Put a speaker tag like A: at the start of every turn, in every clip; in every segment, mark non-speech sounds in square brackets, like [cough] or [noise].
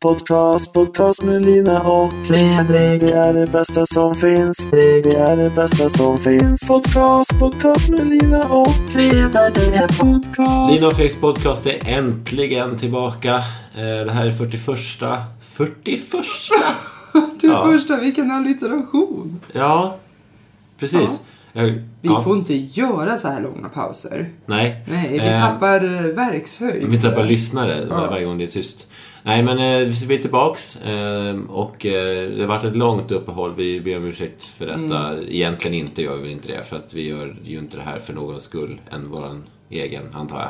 A: Podcast, podcast med Lina och Fredrik. Det är det bästa som finns. Det är det bästa som finns. Podcast, podcast med Lina och Fredrik. Det är podcast.
B: Lina och Fredriks podcast är äntligen tillbaka. Eh, Det här är 41... 41?
C: Du
B: Ja.
C: första, vilken allitteration!
B: Ja, precis. Jag-
C: Vi
B: ja,
C: får inte göra så här långa pauser.
B: Nej.
C: Nej, vi
B: Eh,
C: tappar eh, verkshöjd.
B: Vi tappar lyssnare
C: Ja.
B: varje gång det är tyst. Nej, men eh, vi- vi är tillbaks eh, och eh, det har varit ett långt uppehåll. Vi ber om ursäkt för detta.
C: Mm.
B: Egentligen inte gör vi inte det, för att vi gör ju inte det här för någon skull än vår egen, antar jag.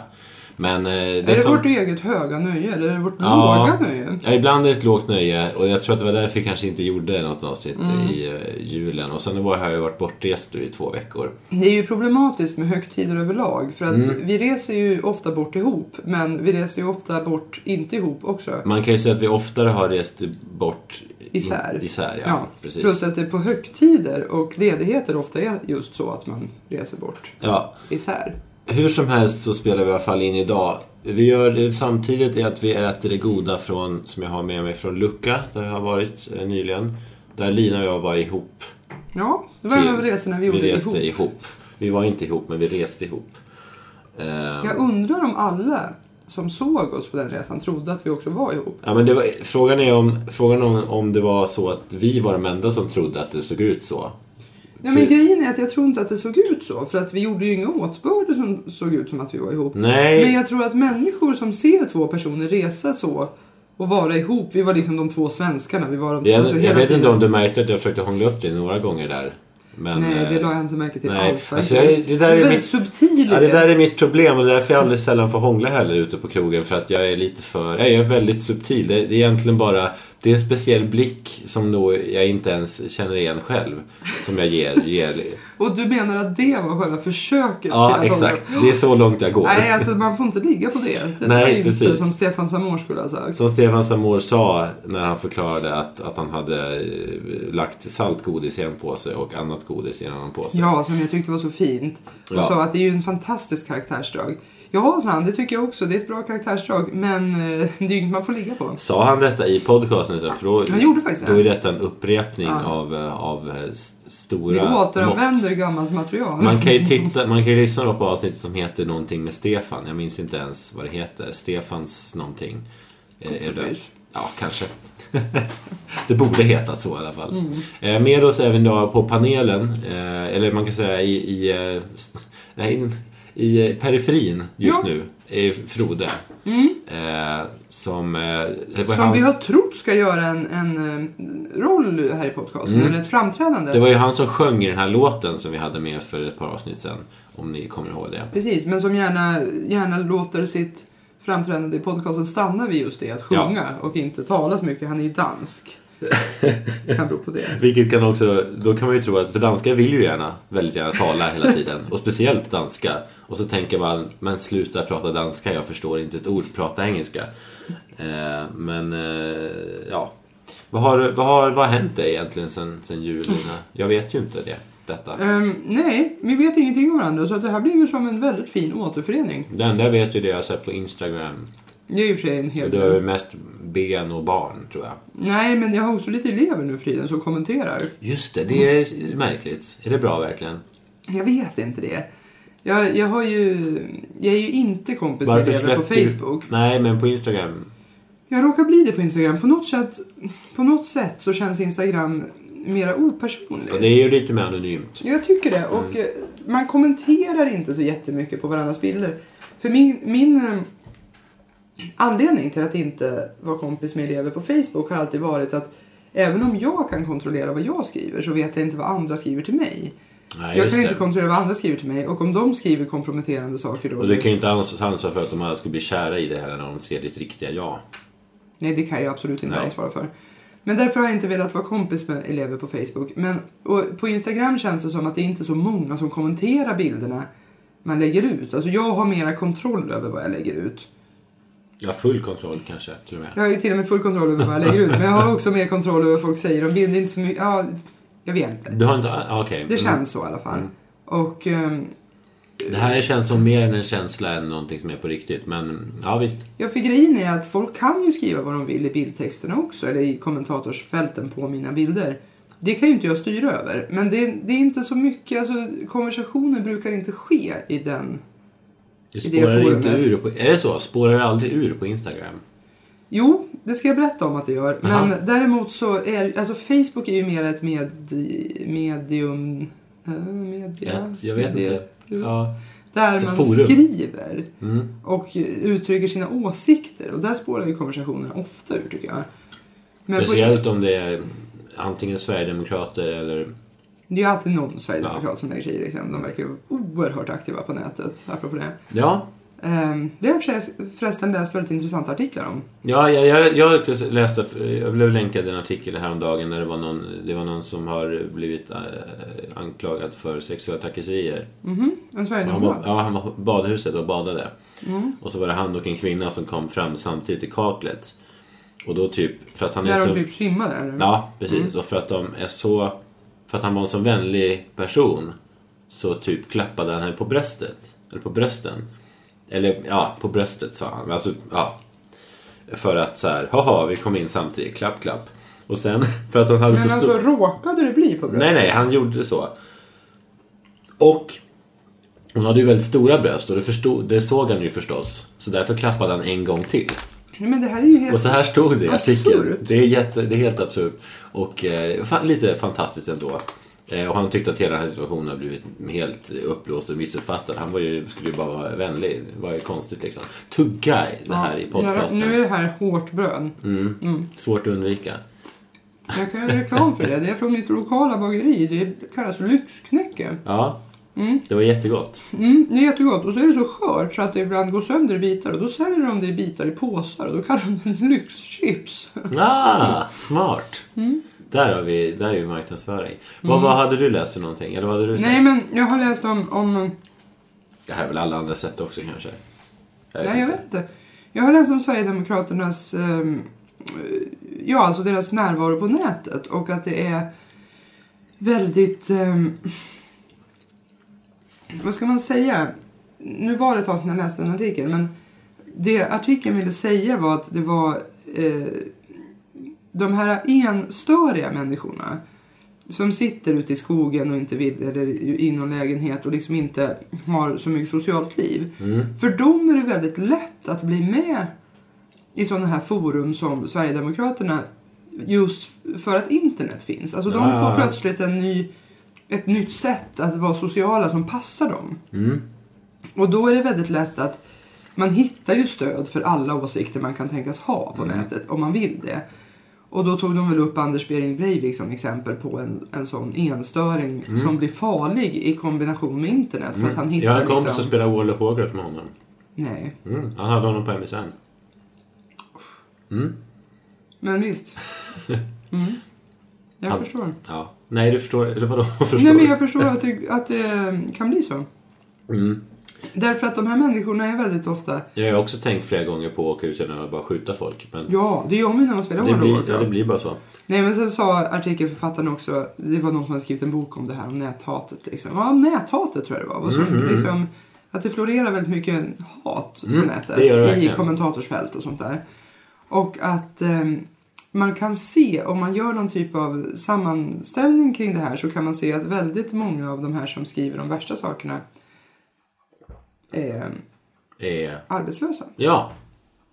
B: Men eh, det,
C: Är det
B: som...
C: vårt eget höga nöje eller är det vårt
B: Ja.
C: låga nöje?
B: Ja, ibland är det ett lågt nöje och jag tror att det var därför vi kanske inte gjorde något avsnitt
C: Mm.
B: i eh, julen. Och sen var jag, har jag varit bortrest i två veckor.
C: Det är ju problematiskt med högtider överlag för att
B: Mm.
C: vi reser ju ofta bort ihop men vi reser ju ofta bort inte ihop också.
B: Man kan ju säga att vi oftare har rest bort
C: Isär.
B: i- isär ja. precis.
C: Plus att det på högtider och ledigheter ofta är just så att man reser bort
B: Ja,
C: isär.
B: hur som helst så spelar vi i alla fall in idag. Vi gör det samtidigt är att vi äter det goda från, som jag har med mig från Lucka, där jag har varit eh, nyligen. Där Lina och jag var ihop.
C: Ja, det var en av resorna vi gjorde
B: vi
C: ihop.
B: reste ihop. Vi var inte ihop, men vi reste ihop. Ehm,
C: Jag undrar om alla som såg oss på den resan trodde att vi också var ihop.
B: Ja, men det var, frågan är om, frågan om, om det var så att vi var de enda som trodde att det såg ut så.
C: Ja, men
B: För-
C: grejen är att jag tror inte att det såg ut så. För att vi gjorde ju inga åtbörder som såg ut som att vi var ihop.
B: Nej,
C: Men jag tror att människor som ser två personer resa så och vara ihop. Vi var liksom de två svenskarna. Vi var de
B: jag,
C: alltså,
B: jag
C: hela
B: vet
C: tiden-
B: inte om du märkte att jag försökte hångla upp dig några gånger där. Men,
C: Nej, det
B: eh,
C: la jag inte märke till
B: nej.
C: alls
B: Alltså,
C: faktiskt.
B: jag- det där är
C: väldigt
B: mitt-
C: subtil
B: Ja,
C: i
B: det där är mitt problem och det är därför jag alldeles sällan får hångla heller ute på krogen för att jag är lite för... Jag är väldigt subtil. Det det är egentligen bara... Det är en speciell blick som då jag inte ens känner igen själv som jag ger. ger.
C: [laughs] Och du menar att det var själva försöket till
B: Ja,
C: att hålla-
B: exakt. Det är så långt jag går.
C: Nej, alltså man får inte ligga på det. Det
B: Nej,
C: är inte
B: precis.
C: som Stefan Samor skulle ha sagt.
B: Som Stefan Samor sa när han förklarade att, att han hade eh, lagt saltgodis i en påse och annat godis i en annan påse.
C: Ja, som jag tyckte var så fint. Och
B: Alltså. Ja.
C: sa att det är ju en fantastisk karaktärsdrag. Ja, sa han, det tycker jag också. Det är ett bra karaktärsdrag. Men eh, det är ju inget man får ligga på.
B: Sa han detta i podcasten? sen? För då,
C: Han gjorde faktiskt det.
B: då är detta en upprepning
C: Ja.
B: av, eh, av eh, s-
C: Vi
B: stora
C: återanvänder
B: mått.
C: gammalt material.
B: Man kan ju titta, man kan ju lyssna då på avsnittet som heter någonting med Stefan. Jag minns inte ens vad det heter. Stefans någonting. Eh, Är, är det döpt? Ja, kanske. [laughs] det borde heta så i alla fall.
C: Mm.
B: Eh, med oss även idag på panelen, eh, eller man kan säga i, i, eh, st- nej, in- i eh, periferin just
C: Ja. Mm.
B: nu, är Frode. Eh, som eh, det, var
C: Som
B: hans,
C: vi har trott ska göra en, en eh, roll här i podcasten. Eller ett framträdande.
B: Mm. det var ju han som sjöng i den här låten som vi hade med för ett par avsnitt sedan. Om ni kommer ihåg det.
C: Precis, men som gärna, gärna låter sitt framträdande i podcasten stanna vid just det. Att sjunga och inte tala så mycket. Han är
B: [laughs]
C: ju dansk. Det kan bero på det.
B: Vilket kan också, då kan man ju tro att, för danskar vill ju gärna, väldigt gärna tala hela tiden. Och speciellt danska. Och så tänker man, men sluta prata danska, jag förstår inte ett ord, prata engelska. Eh, men, eh, ja. Vad har, vad har, vad har hänt dig egentligen sen, sen jul, Lina? Jag vet ju inte det, detta.
C: Ehm, nej, vi vet ingenting om varandra så att det här blir ju som en väldigt fin återförening.
B: Det enda jag vet är det jag har sett på Instagram.
C: Det är ju i och för sig en hel
B: Det är
C: del.
B: ju mest ben och barn, tror jag.
C: Nej, men jag har också lite elever nu Friden som kommenterar.
B: Just det, det är märkligt. Mm. Är det bra verkligen?
C: Jag vet inte det. Jag, jag har ju... Jag är ju inte kompis med elever på
B: du-
C: Facebook.
B: Nej, men på Instagram.
C: Jag råkar bli det på Instagram. På något sätt, på något sätt så känns Instagram mera opersonligt.
B: Ja, Det är ju lite mer anonymt.
C: Jag tycker det.
B: Mm.
C: Och eh, man kommenterar inte så jättemycket på varandras bilder. För min, min eh, anledning till att inte vara kompis med elever på Facebook har alltid varit att även om jag kan kontrollera vad jag skriver så vet jag inte vad andra skriver till mig.
B: Nej,
C: jag
B: just
C: kan
B: det.
C: inte kontrollera vad andra skriver till mig och om de skriver komprometterande saker då...
B: Och du kan ju inte ans- ansvara för att de alla skulle bli kära i dig heller när de ser ditt riktiga jag.
C: Nej, det kan jag absolut inte
B: Nej.
C: ansvara för. Men därför har jag inte velat vara kompis med elever på Facebook. Men och på Instagram känns det som att det är inte är så många som kommenterar bilderna man lägger ut. Alltså jag har mera kontroll över vad jag lägger ut.
B: Ja, full kontroll kanske till och med.
C: Jag har ju till och med full kontroll över vad jag lägger ut. Men jag har också mer kontroll över vad folk säger om bilder. Inte så mycket, ja, jag vet inte.
B: Du har inte... ah, Okej.
C: Det
B: Mm.
C: känns så i alla fall. Och ehm,
B: Det här känns som mer än en känsla än någonting som är på riktigt. Men ja, visst.
C: Ja, för grejen är att folk kan ju skriva vad de vill i bildtexterna också, eller i kommentatorsfälten på mina bilder. Det kan ju inte jag styra över, men det, det är inte så mycket, alltså konversationer brukar inte ske i den.
B: Det
C: det
B: spårar
C: forumet.
B: inte ur på... Är det så? Spårar det aldrig ur på Instagram?
C: Jo, det ska jag berätta om att det gör, men
B: Aha.
C: däremot så är, alltså Facebook är ju mer ett med, medium, eh, media,
B: Ett, jag vet
C: media-
B: inte. Ja.
C: Där
B: Ett
C: man
B: forum.
C: skriver
B: Mm.
C: och uttrycker sina åsikter. Och där spårar ju konversationerna ofta ur tycker jag. Men på,
B: Speciellt om det är antingen Sverigedemokrater eller...
C: det är ju alltid någon sverigedemokrat som lägger sig i. Liksom. De verkar ju oerhört aktiva på nätet, apropå det.
B: Ja,
C: Ehm, det har jag förresten- förresten läst väldigt intressanta artiklar om.
B: Ja, jag, jag, jag läste, jag blev länkad en artikel häromdagen när det var någon, det var någon som har blivit eh, anklagad för sexuella trakasserier.
C: Mhm, En
B: Han var,
C: sverigedemokrat.
B: ja, han var på badhuset och badade.
C: Mm.
B: Och så var det han och en kvinna som kom fram samtidigt i kaklet. Och då typ, för att han är
C: Där de
B: så...
C: typ simmar där nu.
B: Ja, precis. Och för att de är så... För att han var en så vänlig person så typ klappade han henne på bröstet. Eller på brösten. Eller ja, på bröstet sa han. Alltså, ja. För att så här, haha, vi kom in samtidigt. Klapp, klapp. Och sen, [laughs] för att hon hade så
C: Men
B: stor...
C: alltså råkade det bli på bröstet?
B: Nej, nej, han gjorde så. Och hon hade ju väldigt stora bröst och det, förstod, det såg han ju förstås. Så därför klappade han en gång till.
C: Nej, Men det här är ju helt...
B: Och så här stod det i artikeln.
C: Absurt.
B: Det är, jätte, det är helt absurt. Och eh, fan, lite fantastiskt ändå. Eh, och han tyckte att hela den här situationen har blivit helt uppblåst och missuppfattad. Han var ju, skulle ju bara vara vänlig. Det var ju konstigt liksom. Tugga det här i podcasten. Mm.
C: Ja, nu är det här hårt bröd.
B: Svårt att undvika.
C: Jag kan göra reklam för det. Det är från mitt lokala bageri. Det kallas Lyxknäcke.
B: Ja. Det var
C: [laughs]
B: jättegott.
C: Mm, det är jättegott. Och så är det så skört så att det ibland går sönder i bitar. Och då säljer de det i bitar i påsar och då kallar de det lyxchips. Mm.
B: Ah, smart! Där har vi, där är ju marknadsföring. Vad, vad hade du läst för någonting? Eller vad hade du sett?
C: Mm. Nej men jag har läst om... om
B: Det här är väl alla andra sätt också kanske? Jag
C: nej jag vet inte. Jag har läst om Sverigedemokraternas... ehm, ja, alltså deras närvaro på nätet. Och att det är väldigt... ehm, vad ska man säga? Nu var det ett tag sedan jag läste en artikel. Men det artikeln ville säga var att det var... Eh, de här enstöriga människorna som sitter ute i skogen och inte vill, eller i någon lägenhet och liksom inte har så mycket socialt liv.
B: Mm.
C: För dem är det väldigt lätt att bli med i sådana här forum som Sverigedemokraterna just för att internet finns. Alltså de
B: Ja, ja,
C: får
B: ja.
C: plötsligt en ny, ett nytt sätt att vara sociala som passar dem.
B: Mm.
C: Och då är det väldigt lätt att man hittar ju stöd för alla åsikter man kan tänkas ha på nätet om man vill det. Och då tog de väl upp Anders Behring Breivik som exempel på en, en sån enstöring som blir farlig i kombination med internet. För att han
B: Mm. Jag har
C: hittar
B: en kompis som
C: liksom...
B: spelar World of Warcraft med honom.
C: Nej,
B: Mm. Han hade honom på MSN. [laughs]
C: men visst. Mm. Jag
B: Han-
C: förstår.
B: Ja. Nej, du förstår. Eller vadå? [laughs] Förstår
C: Nej men
B: du?
C: jag förstår att det, att det kan bli så.
B: Mm.
C: Därför att de här människorna är väldigt ofta...
B: jag har också tänkt flera gånger på att åka ut genom att bara skjuta folk. Men
C: Ja, det gör man ju när man spelar
B: det,
C: World of
B: blir,
C: Warcraft.
B: ja, det blir bara så.
C: Nej men sen sa artikelförfattaren också, det var någon som hade skrivit en bok om det här, om näthatet liksom. Ja, om näthatet tror jag det var. Vad som, liksom, att det florerar väldigt mycket hat
B: Mm,
C: på nätet.
B: det gör det
C: I
B: verkligen.
C: kommentatorsfält och sånt där. Och att ehm, man kan se, om man gör någon typ av sammanställning kring det här, så kan man se att väldigt många av de här som skriver de värsta sakerna är
B: Eh,
C: arbetslösa.
B: ja,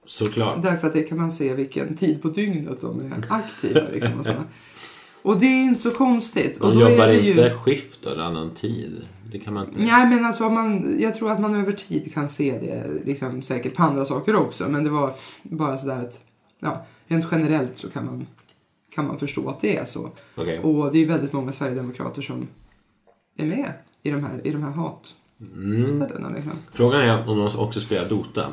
B: såklart.
C: Därför att det kan man se vilken tid på dygnet de är aktiva. Liksom, och, sådana. och det är inte så konstigt. och
B: De
C: då
B: jobbar
C: är det
B: inte
C: Ju...
B: skift eller annan tid. Det kan man inte.
C: Nej, men alltså om man, jag tror att man över tid kan se det liksom, säkert på andra saker också. Men det var bara sådär att ja, rent generellt så kan man, kan man förstå att det är så.
B: Okej.
C: Och det är ju väldigt många sverigedemokrater som är med i de här, i de här hatställena.
B: Mm.
C: Liksom.
B: Frågan är om de också spelar Dota.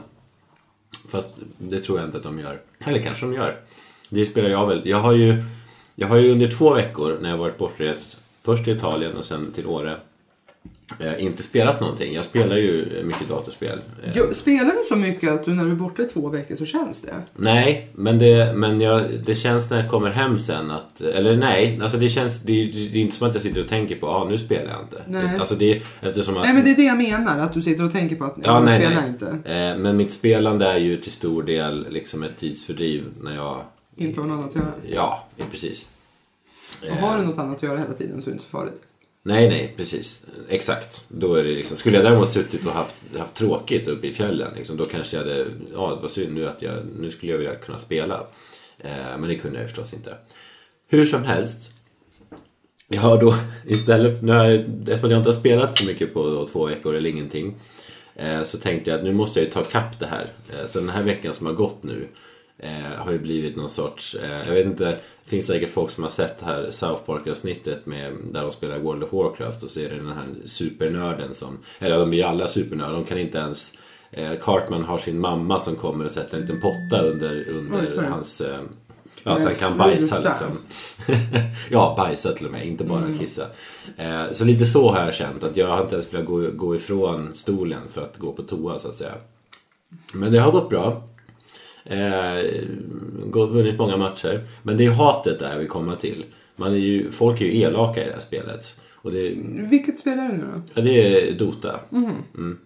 B: Fast det tror jag inte att de gör. Eller kanske de gör. Det spelar jag väl. Jag har ju, jag har ju under två veckor när jag varit bortrest. Först till Italien och sen till Åre. eh, inte spelat någonting. Jag spelar ju mycket datorspel. Eh,
C: Jo, spelar du så mycket att du när du är borta i två veckor så känns det?
B: Nej, men, det, men jag, det känns när jag kommer hem sen att... Eller nej, alltså det känns... Det, är- det är inte som att jag sitter och tänker på ah, nu spelar jag inte.
C: Nej.
B: Alltså det, är- eftersom att,
C: Nej men det är det jag menar, att du sitter och tänker på att
B: Ja,
C: du
B: nej,
C: spelar
B: nej.
C: inte.
B: Eh, men mitt spelande är ju till stor del liksom ett tidsfördriv när jag...
C: Inte har något annat att göra.
B: Ja, precis. Eh.
C: Och har du något annat att göra hela tiden så är det inte så farligt.
B: Nej, nej, precis. Exakt. Då är det liksom, skulle jag däremot suttit och haft, haft tråkigt uppe i fjällen, liksom, då kanske jag hade... Ja, vad synd nu att jag... Nu skulle jag vilja kunna spela. Eh, men det kunde jag förstås inte. Hur som helst. Jag har då [laughs] istället... Nu har jag, eftersom att jag inte har spelat så mycket på då, två veckor eller ingenting. Eh, så tänkte jag att nu måste jag ju ta kapp det här. Eh, så den här veckan som har gått nu eh, har ju blivit någon sorts... Eh, jag vet inte, det finns säkert folk som har sett det här South Park-avsnittet med, där de spelar World of Warcraft och så är det den här supernörden som... Eller de är ju alla supernördar, de kan inte ens... Eh, Cartman har sin mamma som kommer och sätter en liten potta under,
C: Oj,
B: under
C: sorry.
B: hans... Eh, ja, så han kan
C: Men
B: bajsa
C: sluta.
B: liksom. [laughs] ja, bajsa till och med, inte bara kissa. Eh, så lite så har jag känt, att jag har inte ens velat gå, gå ifrån stolen för att gå på toa så att säga. Men det har gått bra. Eh, gått- vunnit många matcher. Men det är hatet där jag vill komma till. Man är ju, folk är ju elaka i det här spelet. Och det,
C: Vilket spelar du nu då?
B: Ja, det är Dota.
C: Mhm.
B: Mm.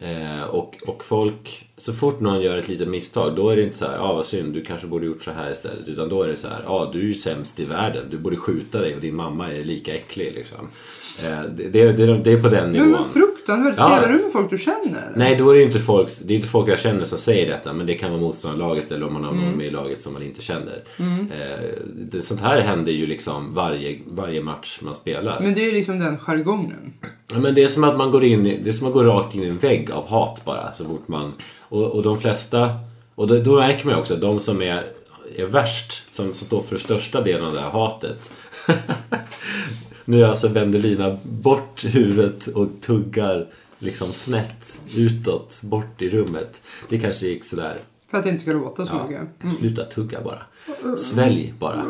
B: Eh, och, och folk, så fort någon gör ett litet misstag då är det inte så här, ah, vad synd, du kanske borde gjort så här istället. Utan då är det så här, ah, du är ju sämst i världen, du borde skjuta dig och din mamma är lika äcklig liksom. Eh, det, det, det, det är på den
C: Men
B: nivån.
C: vad fruktansvärt,
B: Ja.
C: spelar du med folk du känner? eller?
B: Nej, då är det ju inte folk, det är inte folk jag känner som säger detta, men det kan vara motståndarlaget eller om man har någon
C: Mm.
B: med i laget som man inte känner. Eh, det, sånt här händer ju liksom varje, varje match man spelar.
C: Men det är ju liksom den jargongen.
B: Ja, men det är som att man går in i, det är som att gå rakt in i en vägg av hat bara så fort man... Och, och de flesta... Och då, då märker man ju också att de som är, är värst, som, som står för största delen av det här hatet. [laughs] nu är alltså Vendelina bort huvudet och tuggar liksom snett utåt, bort i rummet. Det kanske gick sådär
C: För att det inte ska låta så
B: Ja.
C: mycket.
B: Sluta tugga bara. Svälj bara.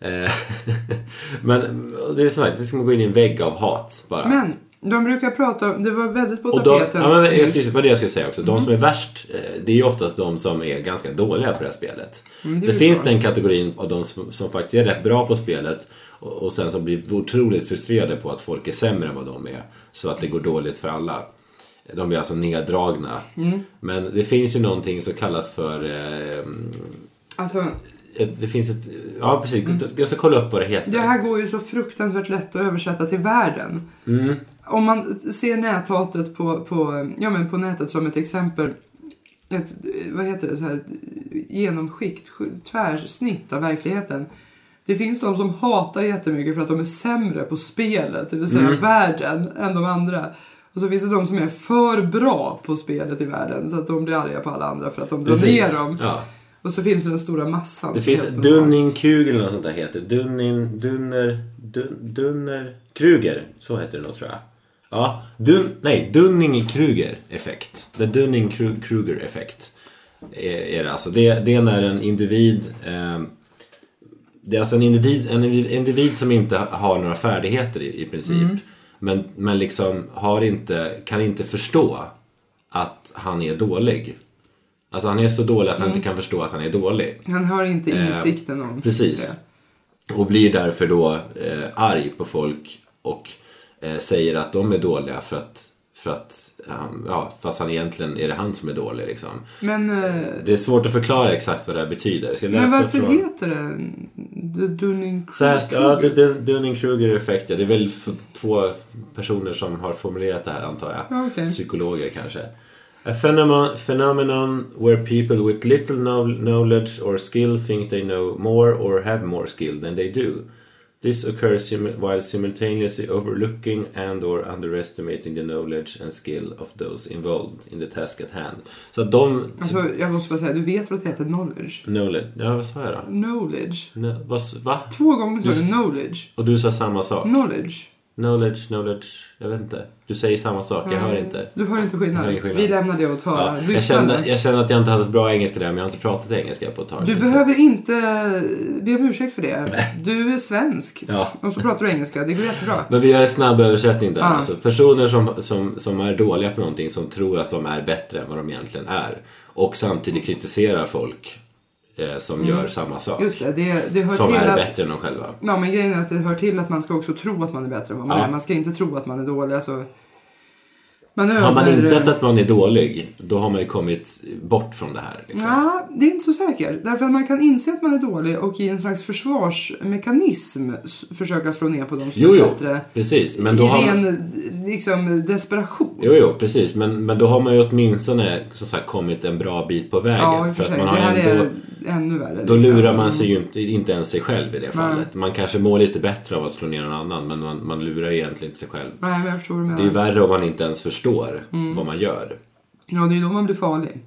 B: Eh, [laughs] Men det är som sagt, det ska man gå in i en vägg av hat bara.
C: Men de brukar prata om, det var väldigt på
B: Och de,
C: tapeten. Mm.
B: ja, men jag skulle, vad det jag skulle säga också, de som är värst, eh, det är ju oftast de som är ganska dåliga på det här spelet.
C: Mm, det
B: det
C: är ju
B: finns
C: bra.
B: den kategorin av de som, som faktiskt är rätt bra på spelet och, och sen som blir otroligt frustrerade på att folk är sämre än vad de är. Så att det går dåligt för alla. De blir alltså neddragna.
C: Mm.
B: Men det finns ju någonting som kallas för... Eh,
C: Alltså,
B: ett- det finns ett... Ja, precis.
C: Mm.
B: Jag ska kolla upp vad det heter.
C: det här går ju så fruktansvärt lätt att översätta till världen.
B: Mm.
C: Om man ser näthatet på, på, ja, men på nätet som ett exempel. Ett, vad heter det? Så här, genomskikt, sk- tvärsnitt av verkligheten. Det finns de som hatar jättemycket för att de är sämre på spelet, det vill säga
B: Mm.
C: världen, än de andra. Och så finns det de som är för bra på spelet i världen så att de blir arga på alla andra för att de drar
B: Precis.
C: ner dem.
B: Ja.
C: Och så finns det den stora massan.
B: Det
C: som
B: finns
C: heter-
B: Dunning Kugel eller något sånt där heter. Dunning... Dunner... Dun, dunner... Kruger. Så heter det nog tror jag. Ja. Dun, nej, Dunning Kruger effekt. The Dunning Kruger effekt. Är, är det alltså. Det, det är när en individ... Eh, det är alltså en individ, en individ som inte har några färdigheter i, i princip. Men, men liksom har inte, kan inte förstå att han är dålig. Alltså han är så dålig att han inte kan förstå att han är dålig.
C: Han har inte insikten om
B: Eh, Precis.
C: det.
B: Och blir därför då eh, arg på folk och eh, säger att de är dåliga för att, för att ehm, ja, fast han egentligen är det han som är dålig liksom.
C: Men, eh,
B: Det är svårt att förklara exakt vad det här betyder. Jag ska läsa
C: men varför
B: från...
C: heter det The Dunning
B: Så här ska, ja, det är Dunning-Kruger effekt, ja. Det är väl f- två personer som har formulerat det här antar jag.
C: Ja, okej.
B: Psykologer kanske. A phenomenon, phenomenon where people with little know- knowledge or skill think they know more or have more skill than they do. This occurs sim- while simultaneously overlooking and or underestimating the knowledge and skill of those involved in the task at hand. Så att de...
C: Alltså, jag måste bara säga, du vet vad det heter knowledge?
B: Knowledge, ja vad sa jag då?
C: Knowledge.
B: Ne- vad s- Va?
C: Två gånger sa du
B: Just-
C: knowledge.
B: Och du sa samma sak?
C: Knowledge.
B: Knowledge, knowledge. Jag vet inte. Du säger samma sak, jag hör inte.
C: Du hör inte skillnad.
B: Jag hör ingen skillnad.
C: Vi lämnar det åt
B: Ja,
C: höra.
B: jag,
C: Lyssnarna.
B: kände, jag kände att jag inte hade så bra engelska där, men jag har inte pratat engelska på ett tag.
C: Du
B: Så-
C: behöver inte be om ursäkt för det. Du är svensk.
B: Ja.
C: Och så pratar du engelska. Det går jättebra.
B: Men vi gör en snabb översättning där.
C: Ja.
B: Alltså, personer som, som, som är dåliga på någonting, som tror att de är bättre än vad de egentligen är. Och samtidigt kritiserar folk eh, som gör samma sak.
C: Mm. Just det, det, det hör
B: Som
C: till
B: är
C: att...
B: bättre än de själva.
C: Ja, men grejen är att det hör till att man ska också tro att man är bättre än vad man
B: Ja.
C: är. Man ska inte tro att man är dålig. Alltså, man
B: Har man
C: över-
B: insett att man är dålig, då har man ju kommit bort från det här. Liksom.
C: Ja, det är inte så säkert. Därför att man kan inse att man är dålig och i en slags försvarsmekanism s- försöka slå ner på de som
B: Jo,
C: är
B: jo,
C: bättre.
B: precis. Men då
C: I
B: har man...
C: ren liksom, desperation.
B: Jo, jo, precis. Men, men då har man ju åtminstone som sagt, kommit en bra bit på vägen.
C: ja, i och
B: för
C: för sig.
B: att
C: Det
B: man har
C: här
B: ändå...
C: är ännu värre.
B: Då
C: liksom.
B: lurar man sig ju inte, inte ens sig själv i det fallet. Man kanske mår lite bättre av att slå ner någon annan, men man, man lurar ju egentligen inte sig själv.
C: Nej, Mm. men jag förstår vad du
B: Det är ju
C: menar.
B: värre om man inte ens förstår vad man gör.
C: Ja, det är då man blir farlig.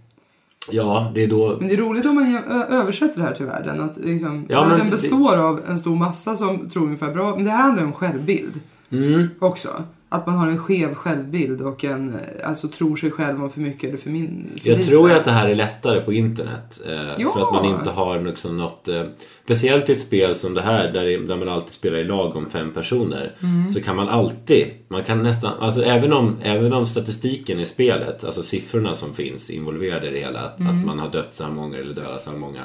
B: Ja, det är då...
C: Men det är roligt om man ö- översätter det här till världen. Att liksom,
B: Ja, men
C: världen
B: det-
C: består av en stor massa som tror ungefär bra. Men det här handlar ju om självbild
B: Mm.
C: också. Att man har en skev självbild och en, eh, alltså, tror sig själv om för mycket eller för min. För
B: Jag
C: lite.
B: tror ju att det här är lättare på internet. Eh,
C: Ja.
B: För att man inte har liksom något... Eh, speciellt i ett spel som det här där, det- där man alltid spelar i lag om fem personer.
C: Mm.
B: Så kan man alltid, man kan nästan, alltså även om, även om statistiken i spelet, alltså siffrorna som finns involverade i det hela, att,
C: Mm.
B: att man har dött så här många eller dödat så här många.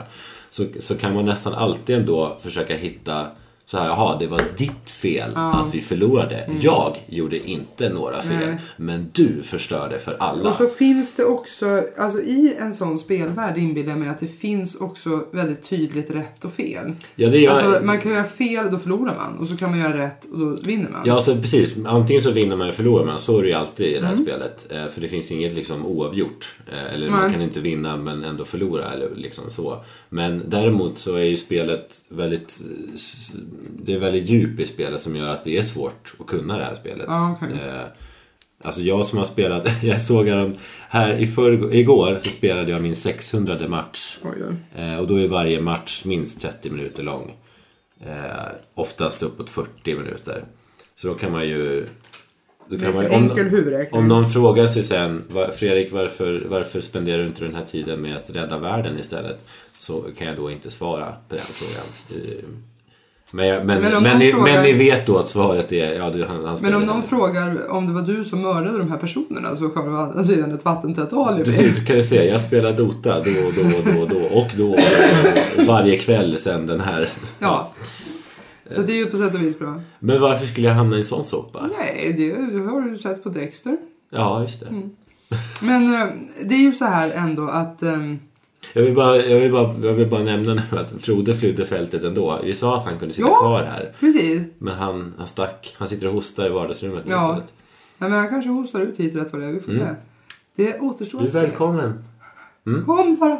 B: Så, så kan man nästan alltid ändå försöka hitta så här, jaha, det var ditt fel att vi förlorade. Jag gjorde inte några fel.
C: Mm. Nej.
B: Men du förstörde för alla.
C: Och så finns det också, alltså i en sån spelvärld inbillar jag mig att det finns också väldigt tydligt rätt och fel.
B: ja, det gör...
C: Alltså man kan göra fel, då förlorar man. Och så kan man göra rätt och då vinner man.
B: Ja, alltså, precis. Antingen så vinner man eller förlorar man. Så är det ju alltid i det
C: Mm.
B: här spelet. Eh, För det finns inget liksom oavgjort. Eh, Eller man
C: Nej.
B: kan inte vinna men ändå förlora eller liksom så. Men däremot så är ju spelet väldigt... eh, s- Det är väldigt djup i spelet som gör att det är svårt att kunna det här spelet.
C: Ja, okej.
B: Eh, Alltså jag som har spelat, [laughs] jag såg härom- här i förrgår, igår så spelade jag min 600 match.
C: Oj, oj.
B: Eh, Och då är varje match minst 30 minuter lång. Eh, oftast uppåt 40 minuter. Så då kan man ju... Då
C: Det är
B: kan man, ju-
C: en enkel
B: om,
C: huvudräkning.
B: om någon frågar sig sen, "Va- Fredrik varför, varför spenderar du inte den här tiden med att rädda världen istället? Så kan jag då inte svara på den frågan. Eh, Men, jag, men,
C: Men om
B: men,
C: någon
B: ni,
C: frågar-
B: men ni vet då att svaret är ja, du, han, han
C: Men
B: spelar
C: om
B: den
C: någon
B: här."
C: frågar om det var du som mördade de här personerna alltså så har du å andra sidan ett vattentätt alibi.
B: Precis, så kan du se. Jag spelar Dota då och då och då och då och då, och då varje kväll sen den här.
C: Ja. Så det är ju på sätt och vis bra.
B: Men varför skulle jag hamna i en sån sopa?
C: Nej, det har du sett på Dexter.
B: Ja, just det.
C: Mm. Men eh, det är ju så här ändå att... ehm,
B: Jag, vill bara, jag, vill bara, jag vill bara nämna nu att Frode flydde fältet ändå. Vi sa att han kunde sitta
C: Ja.
B: kvar här.
C: Precis.
B: Men han, han stack. Han sitter och hostar i vardagsrummet nu
C: Ja.
B: istället.
C: Nej, men han kanske hostar ut hit rätt vad det är. Vi får se. Det återstår
B: Du
C: att
B: är
C: se.
B: välkommen.
C: Kom bara.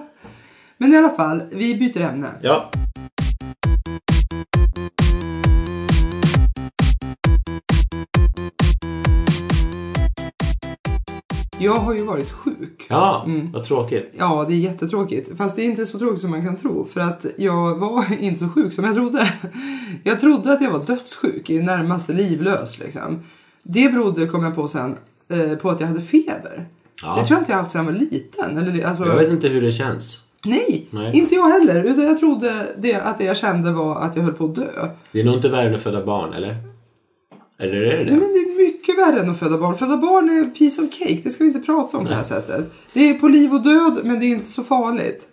C: Men i alla fall, vi byter ämne.
B: Ja.
C: Jag har ju varit sjuk.
B: Ja,
C: Mm.
B: vad tråkigt.
C: Ja, det är jättetråkigt. Fast det är inte så tråkigt som man kan tro. För att jag var [laughs] inte så sjuk som jag trodde. Jag trodde att jag var dödssjuk, i det närmaste livlös liksom. Det berodde, kom jag på sen, eh, på att jag hade feber.
B: Ja.
C: Det tror jag inte jag haft sedan jag var liten. Eller, alltså,
B: Jag vet inte hur det känns.
C: nej,
B: Nej.
C: inte jag heller. Utan jag trodde det, att det jag kände var att jag höll på att dö.
B: Det är nog inte värre än att föda barn, eller? Eller är det
C: Nej,
B: det?
C: men det är mycket värre än att föda barn. Föda barn är piece of cake. Det ska vi inte prata om på det här sättet. Det är på liv och död, men det är inte så farligt.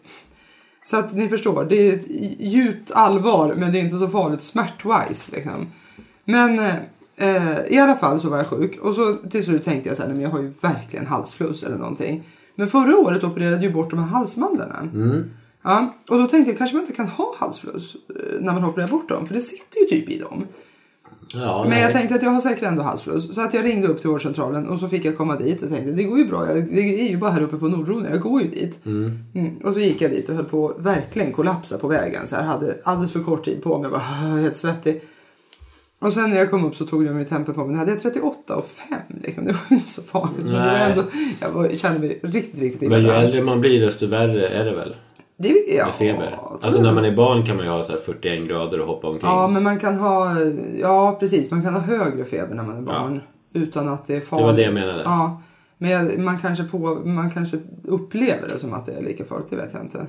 C: Så att ni förstår, det är ett djupt allvar, men det är inte så farligt smärtwise. Liksom. Men eh, i alla fall så var jag sjuk och så till slut tänkte jag så här, nej, men jag har ju verkligen halsfluss eller någonting. Men förra året opererade jag ju bort de här halsmandlarna. Ja, och då tänkte jag kanske man inte kan ha halsfluss eh, när man opererar bort dem, för det sitter ju typ i dem.
B: Ja,
C: Men jag
B: nej.
C: tänkte att jag har säkert ändå halsfluss. Så att jag ringde upp till vårdcentralen och så fick jag komma dit och tänkte det går ju bra. Jag, det är ju bara här uppe på Nordbron. Jag går ju dit. Mm. Och så gick jag dit och höll på att verkligen kollapsa på vägen. Så här, hade alldeles för kort tid på mig. Jag var [laughs] helt svettig. Och sen när jag kom upp så tog jag mig tempen på mig. Då hade jag 38 och 5 liksom. Det var ju inte så farligt. Men det var
B: Nej.
C: ändå, jag var, kände mig riktigt, riktigt illa.
B: Men ju
C: däran.
B: äldre man blir desto värre är det väl?
C: Det, ja,
B: med feber.
C: tror
B: Alltså
C: jag.
B: när man är barn kan man ju ha så här 41 grader och hoppa omkring.
C: Ja, men man kan ha... Ja, precis. Man kan ha högre feber när man är barn. Utan att det är farligt.
B: var det jag menade.
C: Ja. Men jag- man kanske, på, man kanske upplever det som att det är lika farligt. Det vet jag inte.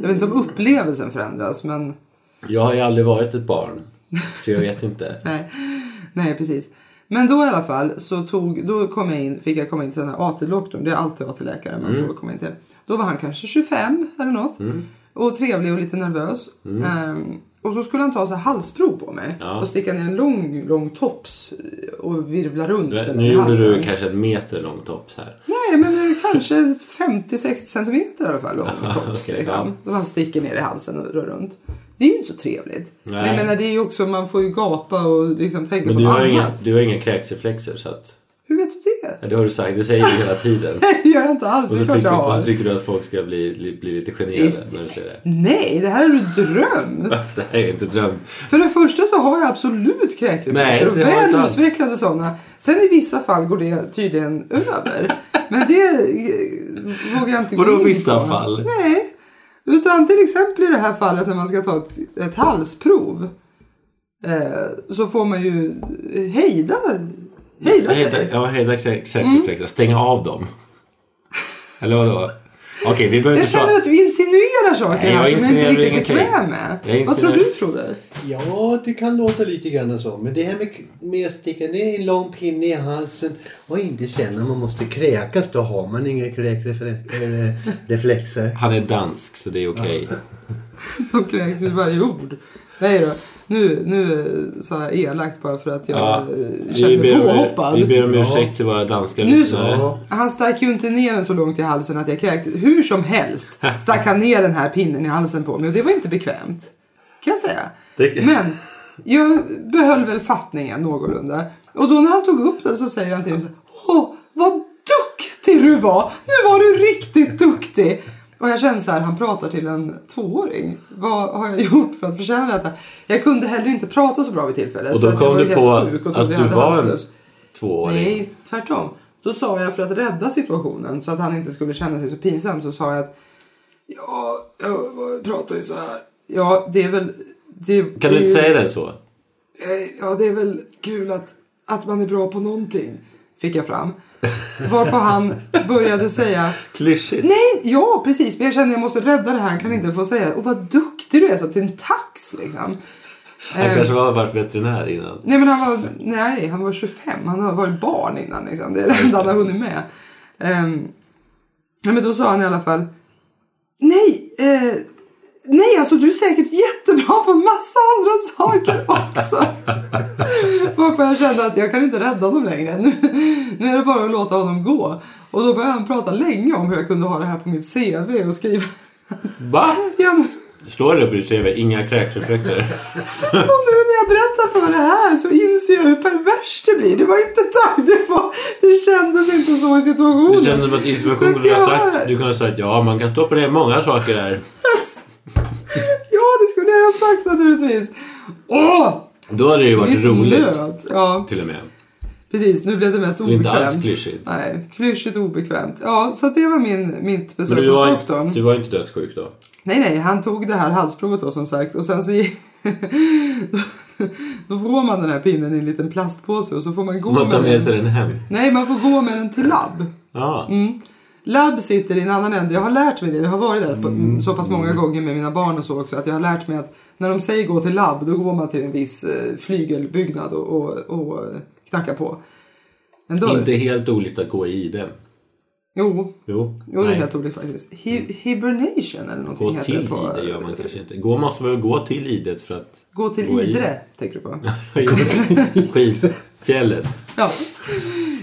C: Jag vet inte om upplevelsen förändras, men...
B: Jag har ju aldrig varit ett barn. Så jag vet inte.
C: [laughs] Nej, nej precis. Men då i alla fall så tog, då kom jag in, fick jag komma in till den här AT-doktorn. Det är alltid AT-läkare
B: Mm.
C: man får komma in till. Då var han kanske 25 eller något. Och trevlig och lite nervös. Ehm, och så skulle han ta så här halsprov på mig.
B: Mm. Ja.
C: Och sticka ner en lång, lång tops. Och virvla runt
B: Du,
C: den
B: nu
C: i
B: gjorde
C: halsen.
B: du kanske en meter lång tops här.
C: Nej, men eh, kanske 50-60 centimeter i alla fall. Lång tops,
B: Okej, [laughs]
C: liksom.
B: ja.
C: Då han sticker ner i halsen och rör runt. Det är ju inte så trevligt. Men jag
B: Nej.
C: menar, det är ju också, man får ju gapa och liksom tänka
B: Men
C: på
B: du
C: något
B: har,
C: annat.
B: inga, du har inga kräksreflexer så att...
C: Hur vet du det? [laughs]
B: Ja, Det har du sagt, det säger du hela tiden.
C: Det gör jag inte alls.
B: Och
C: Det
B: så
C: är klart jag
B: tycker, och så
C: har.
B: tycker du att folk ska bli, bli, bli lite
C: Visst.
B: generade när du säger det. [laughs]
C: Nej, det här är du drömt.
B: Det här är inte drömt.
C: För det första så har jag absolut
B: Nej,
C: kräkreflexer och
B: det har jag inte
C: väl
B: alls.
C: utvecklade sådana. Sen i vissa fall går det tydligen
B: [laughs]
C: över. Men det eh, vågar jag inte gå
B: Vadå
C: in på.
B: vissa fall?
C: Nej. Utan till exempel i det här fallet när man ska ta ett, ett halsprov. Eh, så får man ju hejda, hejda sig.
B: Hejda, ja, hejda krä- kräksreflexer.
C: Mm.
B: Stänga av dem. Eller vadå? Okej, vi behöver
C: Jag
B: inte
C: känner
B: prata...
C: att du insinuerar saker
B: Nej, jag
C: här som jag inte
B: insinuerar
C: är riktigt
B: ingenting.
C: bekväm med.
B: Jag
C: Vad tror
B: insinuerar-
C: du Frode?
D: Ja, det kan låta lite grann så. Men det här med, med att sticka ner en lång pinne i halsen och inte känna att man måste kräkas, då har man inga eh, [laughs] kräkreflexer.
B: Han är dansk, så det är okej.
C: [laughs] De kräks vid varje ord. Nej då. Nu, nu sa jag elakt bara för att jag
B: Ja,
C: eh,
B: vi,
C: kände mig
B: ber om,
C: påhoppad.
B: vi ber om
D: Ja.
B: ursäkt till våra danska
C: Nu
B: lyssnare.
C: så. Han stack ju inte ner den så långt i halsen att jag kräktes. Hur som helst stack han ner den här pinnen i halsen på mig och det var inte bekvämt. Kan jag säga.
B: Det-
C: Men jag behöll väl fattningen någorlunda. Och då när han tog upp den så säger han till mig så här, Åh, vad duktig du var! Nu var du riktigt duktig! Och jag känner så här, han pratar till en tvååring. Vad har jag gjort för att förtjäna detta? Jag kunde heller inte prata så bra vid tillfället.
B: Och
C: för
B: då
C: att
B: kom
C: jag
B: du på
C: var helt sjuk och
B: att
C: trodde jag
B: du
C: hade
B: var en
C: halsfluss.
B: tvååring.
C: Nej, tvärtom. Då sa jag för att rädda situationen så att han inte skulle känna sig så pinsam så sa jag att ja, jag pratar ju så här. Ja, det är väl... Det,
B: Kan
C: det
B: du
C: är
B: inte
C: ju-
B: säga det så?
C: Eh, Ja, det är väl kul att, att man är bra på någonting. Fick jag fram. Varpå han började säga
B: Klyschigt.
C: Nej, ja precis. Men jag känner att jag måste rädda det här. Han kan inte få säga och vad duktig du är. Så till en tax liksom.
B: Han
C: Eh,
B: kanske har varit veterinär innan.
C: Nej men han var, nej, han var 25. Han har varit barn innan liksom. Det är det enda han har hunnit med. Ehm, nej, men då sa han i alla fall. Nej, eh, nej alltså du är säkert jättebra på en massa andra [laughs] saker också. Varpå jag kände att jag kan inte rädda honom längre. Nu, nu är det bara att låta honom gå. Och då började han prata länge om hur jag kunde ha det här på mitt CV och skriva.
B: Va?
C: Igen.
B: Står det på ditt CV? Inga kräksreflexer.
C: Och nu när jag berättar för det här så inser jag hur perverst det blir. Det var inte tack, det, var, det kändes inte så i
B: Det
C: situationen.
B: kändes som att
C: Men
B: instruktionen
C: ska
B: kunde
C: jag
B: ha
C: ha
B: sagt,
C: det?
B: du kunde ha sagt ja, man kan stoppa ner många saker där.
C: Ja, det skulle jag ha sagt naturligtvis. Åh!
B: Då hade det ju varit
C: mitt
B: roligt.
C: nöt. Ja,
B: Till och med.
C: precis. Nu blev det mest
B: är
C: obekvämt.
B: inte alls klyschigt.
C: Nej, klyschigt och obekvämt. Ja, så att det var min, mitt
B: Men
C: besök
B: du
C: hos
B: var,
C: doktorn.
B: du var inte dödssjuk då?
C: Nej, nej, han tog det här halsprovet då som sagt och sen så gick... [laughs] då- Då får man den här pinnen i en liten plastpåse och så får man gå
B: Man tar med
C: den.
B: sig den hem?
C: Nej, man får gå med den till labb.
B: Ja.
C: Mm. Labb sitter i en annan ände. Jag har lärt mig det. Jag har varit där på,
B: Mm.
C: så pass många gånger med mina barn och så också. Att jag har lärt mig att när de säger gå till labb då går man till en viss eh, flygelbyggnad och, och, och eh, knackar på. En dörr.
B: Inte helt olikt att gå i den.
C: Jo,
B: Jo.
C: jo det är
B: Nej.
C: helt olikt faktiskt. Hi- hibernation eller någonting
B: Gå
C: heter
B: till
C: det på.
B: Idre gör man kanske inte. Gå måste väl gå till idet för att...
C: Gå till
B: Gå i-
C: Idre, tänker du på. [laughs]
B: Skidfjället.
C: Ja.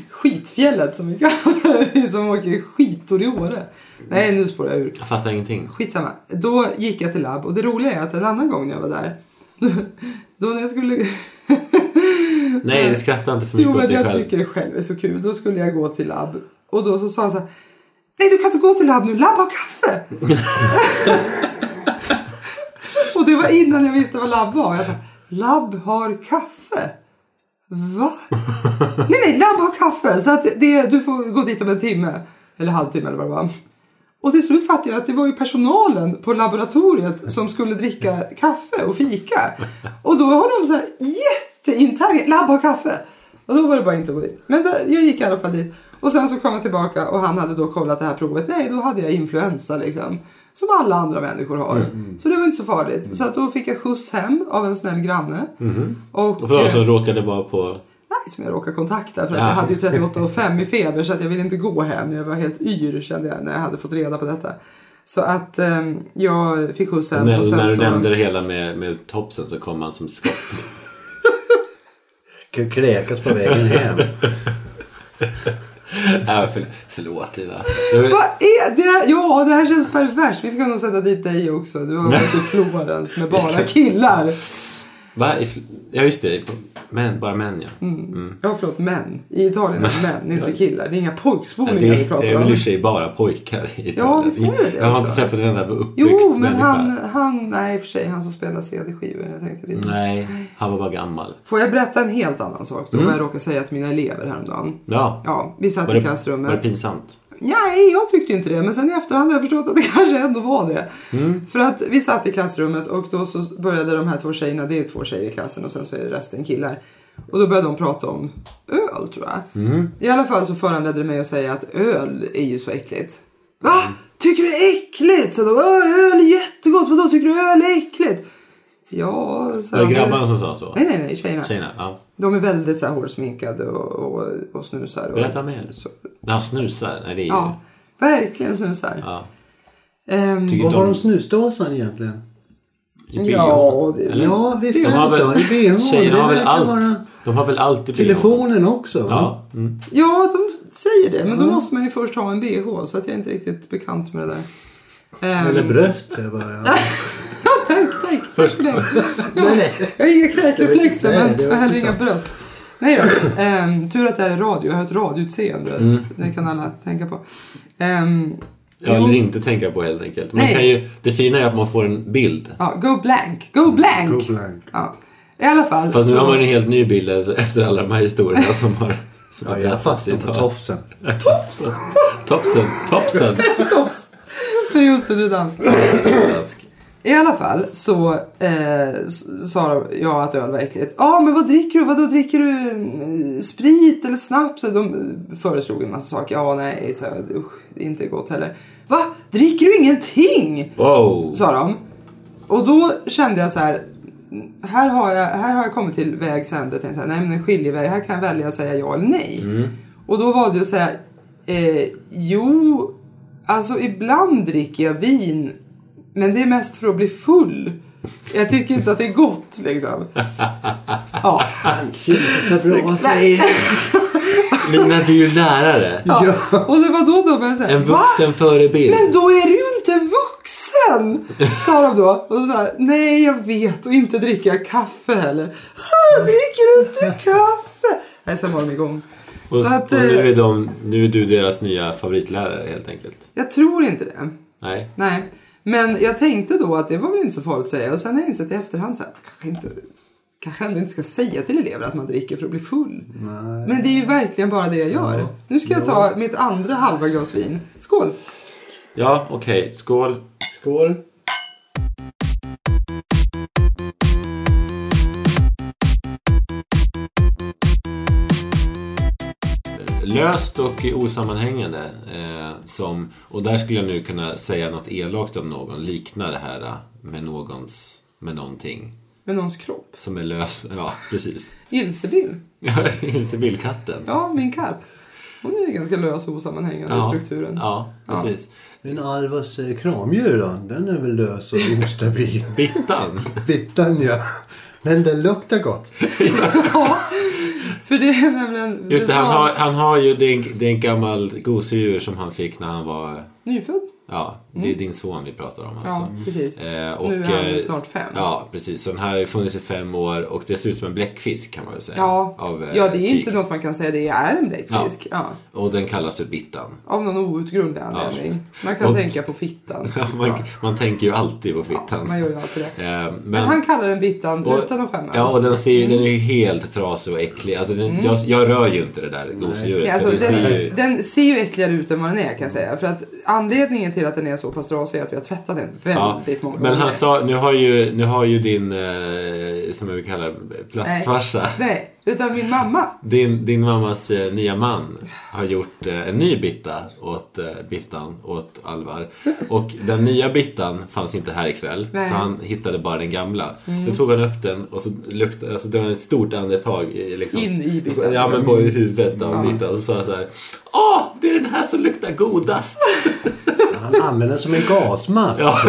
C: Skitfjället som vi kallar det. [laughs] Som åker skitor i Åre. Nej, nu spårar jag ur.
B: Jag fattar ingenting.
C: Skitsamma. Då gick jag till labb och det roliga är att en annan gång när jag var där. [laughs] Då när
B: [laughs]
C: jag skulle...
B: Nej, skratta inte för
C: Jo
B: mycket åt
C: men
B: dig
C: jag
B: själv.
C: tycker det själv är så kul. Då skulle jag gå till labb. Och då så sa han så här. Nej du kan inte gå till labb nu. Labb har
B: [laughs]
C: kaffe. och det var innan jag visste vad labb var. Jag bara, labb har kaffe. Va? nej nej, labb har kaffe. Så att det, du får gå dit om en timme. Eller halvtimme eller vad det var. Och till slut fattade jag att det var ju personalen på laboratoriet som skulle dricka kaffe och fika. Och då har de så här jätteinternt, labb har kaffe. Och då var det bara inte att gå dit. Men där, jag gick i alla fall dit. Och sen så kom jag tillbaka och han hade då kollat det här provet. Nej, då hade jag influensa liksom. Som alla andra människor har. Så det var inte så farligt. Så att då fick jag skjuts hem av en snäll granne. Och,
B: Och för oss som råkade vara på...
C: nej, som jag råkade kontakta. För att
B: Ja.
C: jag hade ju 38,5 i feber så att jag ville inte gå hem. Jag var helt yr kände jag när jag hade fått reda på detta. Så att ehm, jag fick skjuts hem. och
B: När,
C: sen
B: när du
C: så...
B: nämnde det hela med, med topsen så kom han som
C: [laughs]
B: skott.
D: Kan kräkas på
B: [laughs]
D: vägen hem.
B: äh, för, förlåt Lina. Det var-
C: Vad är det? Ja, det här känns perverst. Vi ska nog sätta dit dig också. Du
B: [laughs]
C: har varit i Florens med bara killar.
B: Va? I fl- Ja just det, på- män, bara män ja.
C: Ja, förlåt, män. I Italien är det män, inte killar. Det är inga
B: Men
C: pojkspolingar vi
B: det, det
C: pratar
B: är
C: om.
B: väl i och för sig bara pojkar i
C: visst är det det
B: Jag har inte
C: också.
B: träffat en enda uppväxt
C: Jo, men
B: människa.
C: han, han, nej i och för sig, han som spelar CD-skivor. Jag tänkte det.
B: Nej, han var bara gammal.
C: Får jag berätta en helt annan sak
B: Mm.
C: då? Vad jag råkade säga till mina elever häromdagen.
B: Ja.
C: Ja, vi satt
B: Var det, var
C: i
B: det
C: klassrummet.
B: pinsamt?
C: Nej, jag tyckte ju inte det. Men sen i efterhand har jag förstått att det [laughs] kanske ändå var det.
B: Mm.
C: För att vi satt i klassrummet och då så började de här två tjejerna, det är två tjejer i klassen och sen så är det resten killar. Och då började de prata om öl tror jag.
B: Mm.
C: I alla fall så föranledde det mig att säga att öl är ju så äckligt. Va? Tycker du det är äckligt? Så de, "Åh, öl är jättegott, vadå tycker du öl är äckligt? Ja, så
B: Var det grabbarna som sa så?
C: Nej, nej, nej, tjejerna.
B: Tjejerna? Ja.
C: De är väldigt så här hårdsminkade och, och, och snusar. Och,
B: Berätta mer.
C: Så,
B: När han snusar? Nej, det är ju...
C: ja, verkligen snusar.
B: Ja.
C: Ehm,
B: Tycker
D: Vad har de
B: de...
D: snusdosan egentligen?
B: i bio?
C: ja, det,
B: Eller?
D: Ja, visst
B: De
D: är
B: har
D: det så. I
B: väl...
D: bh.
B: Tjejerna
D: det
B: har väl
D: verkar
B: allt.
D: vara-
B: De har väl allt i bio?
D: Telefonen också. va?
B: Ja. Mm.
C: ja, de säger det. Men
D: Mm.
C: då måste man ju först ha en bh. Så att jag är inte riktigt bekant med det där. Ehm,
D: Eller bröst. det är Bara.
C: [laughs]
B: [laughs]
C: ja, tack, tack. Tack för det.
D: Nej, nej.
C: Jag har inga kräkreflexer
D: Nej,
C: men
D: det var
C: jag har heller
D: inte
C: inga
D: sant.
C: bröst. Nej då. ehm, tur att det här är radio. Jag har ett radioutseende.
B: Mm.
C: Det kan alla tänka på. Ehm,
B: Ja, eller inte tänka på helt enkelt. Man
C: Nej.
B: kan ju... Det fina är att man får en bild.
C: ja, go blank. Go blank.
D: Go blank.
C: Ja. I alla fall.
B: Fast nu
C: så-
B: har man en helt ny bild efter alla de här historierna som har... Som
D: Ja,
B: har
D: jag
B: berättats
D: fastnar på
B: idag.
D: tofsen.
B: Topsen! Topsen!
C: [laughs] Tops. Nej, just det, du är dansk.
B: Dansk.
C: I alla fall så eh, s- sa jag att öl var äckligt. Ja, men vad dricker du? Vadå dricker du? mm, Sprit eller snaps? Och De eh, föreslog en massa saker. Ja, nej, så jag. Usch, det är inte gott heller. Va? Dricker du ingenting?
B: Wow!
C: Sa de. Och då kände jag så här. Här har jag, här har jag kommit till vägs ände. Tänkte så här, nej men en skiljeväg. Här kan jag välja att säga ja eller nej.
B: Mm.
C: Och då valde jag att säga. Eh, jo, alltså ibland dricker jag vin. Men det är mest för att bli full. Jag tycker inte att det är gott
B: [laughs]
C: liksom. Ja.
D: Kanske inte så bra säger
B: Lina, du är ju lärare.
C: ja. Och det var då de började säga.
B: En
C: "Va?
B: vuxen förebild.
C: Men då är du ju inte vuxen! Sa de då. Och så här, nej jag vet och inte dricker jag kaffe heller. "Ah, Dricker du inte kaffe? Nej, sen var de igång.
B: Och,
C: Så att,
B: och
C: eh,
B: nu, är de, nu är du deras nya favoritlärare helt enkelt.
C: jag tror inte det.
B: Nej.
C: Nej. Men jag tänkte då att det var väl inte så farligt att säga. Och sen har jag insett i efterhand så här, man kanske inte kanske ändå inte ska säga till elever att man dricker för att bli full. Men det är ju verkligen bara det jag gör. Nu ska jag ta mitt andra halva glas vin. Skål!
B: Ja, okej. Skål.
D: Skål.
B: Löst och osammanhängande. Eh, som, och där skulle jag nu kunna säga något elakt om någon. Likna det här eh, med någons, med någonting.
C: Med någons kropp.
B: Som är lös. Ja, precis.
C: Ilsebill.
B: Civilkatten.
C: Ja, min katt. Hon är ju ganska lös och osammanhängande i strukturen.
B: Ja, precis.
D: Men Alvas eh, kramdjur då? Den är väl lös och
C: [laughs]
D: ostabil?
B: Bittan.
D: Bittan ja. Men den luktar gott.
C: Ja, för det är nämligen...
B: Just det, han
C: sa-
B: har, han har ju, det är en, det är en gammal gosedjur som han fick när han var,
C: Nyfödd?
B: ja, Det är din son vi pratar om alltså.
C: Mm. Ja, precis.
B: Eh, och,
C: nu är han
B: eh,
C: ju snart fem.
B: Ja, precis. Så den här har ju funnits i fem år och det ser ut som en bläckfisk kan man väl säga.
C: Ja.
B: av, eh,
C: ja, det är inte
B: tyg.
C: något man kan säga det är en bläckfisk. Ja.
B: Och den kallas för Bittan. [laughs]
C: Av någon outgrundlig anledning. Man kan
B: Och-
C: tänka på fittan.
B: man, man tänker ju alltid på
C: Ja,
B: fittan.
C: man gör ju alltid det.
B: Eh,
C: Men
B: men,
C: han kallar den bittan utan att skämmas.
B: ja, och den, ser, ju- den är ju helt trasig och äcklig. Alltså, den, jag, jag rör ju inte det där gosedjuret.
C: Ja,
B: för
C: alltså,
B: det ser ju...
C: den, den ser ju äckligare ut än vad den är kan jag säga. För att anledningen till att den är så pass trasig är att vi har tvättat den
B: Ja,
C: väldigt många
B: men han
C: gånger.
B: sa, nu har ju, nu har ju din, eh, som jag vill kalla det, plastfarsa,
C: Nej, utan min mamma.
B: din, din mammas eh, nya man har gjort eh, en ny bitta åt eh, Bittan, åt Alvar. Och den nya Bittan fanns inte här ikväll,
C: Nej. Mm.
B: så han hittade bara den gamla. Då tog han upp den och så luktade, alltså tog han ett stort andetag i, liksom,
C: In i Bittan,
B: Ja, men
C: liksom.
B: på huvudet av Bittan. Och så sa han så här, Åh, det är den här som luktar godast!
D: Han använder den som en gasmask.
B: Ja.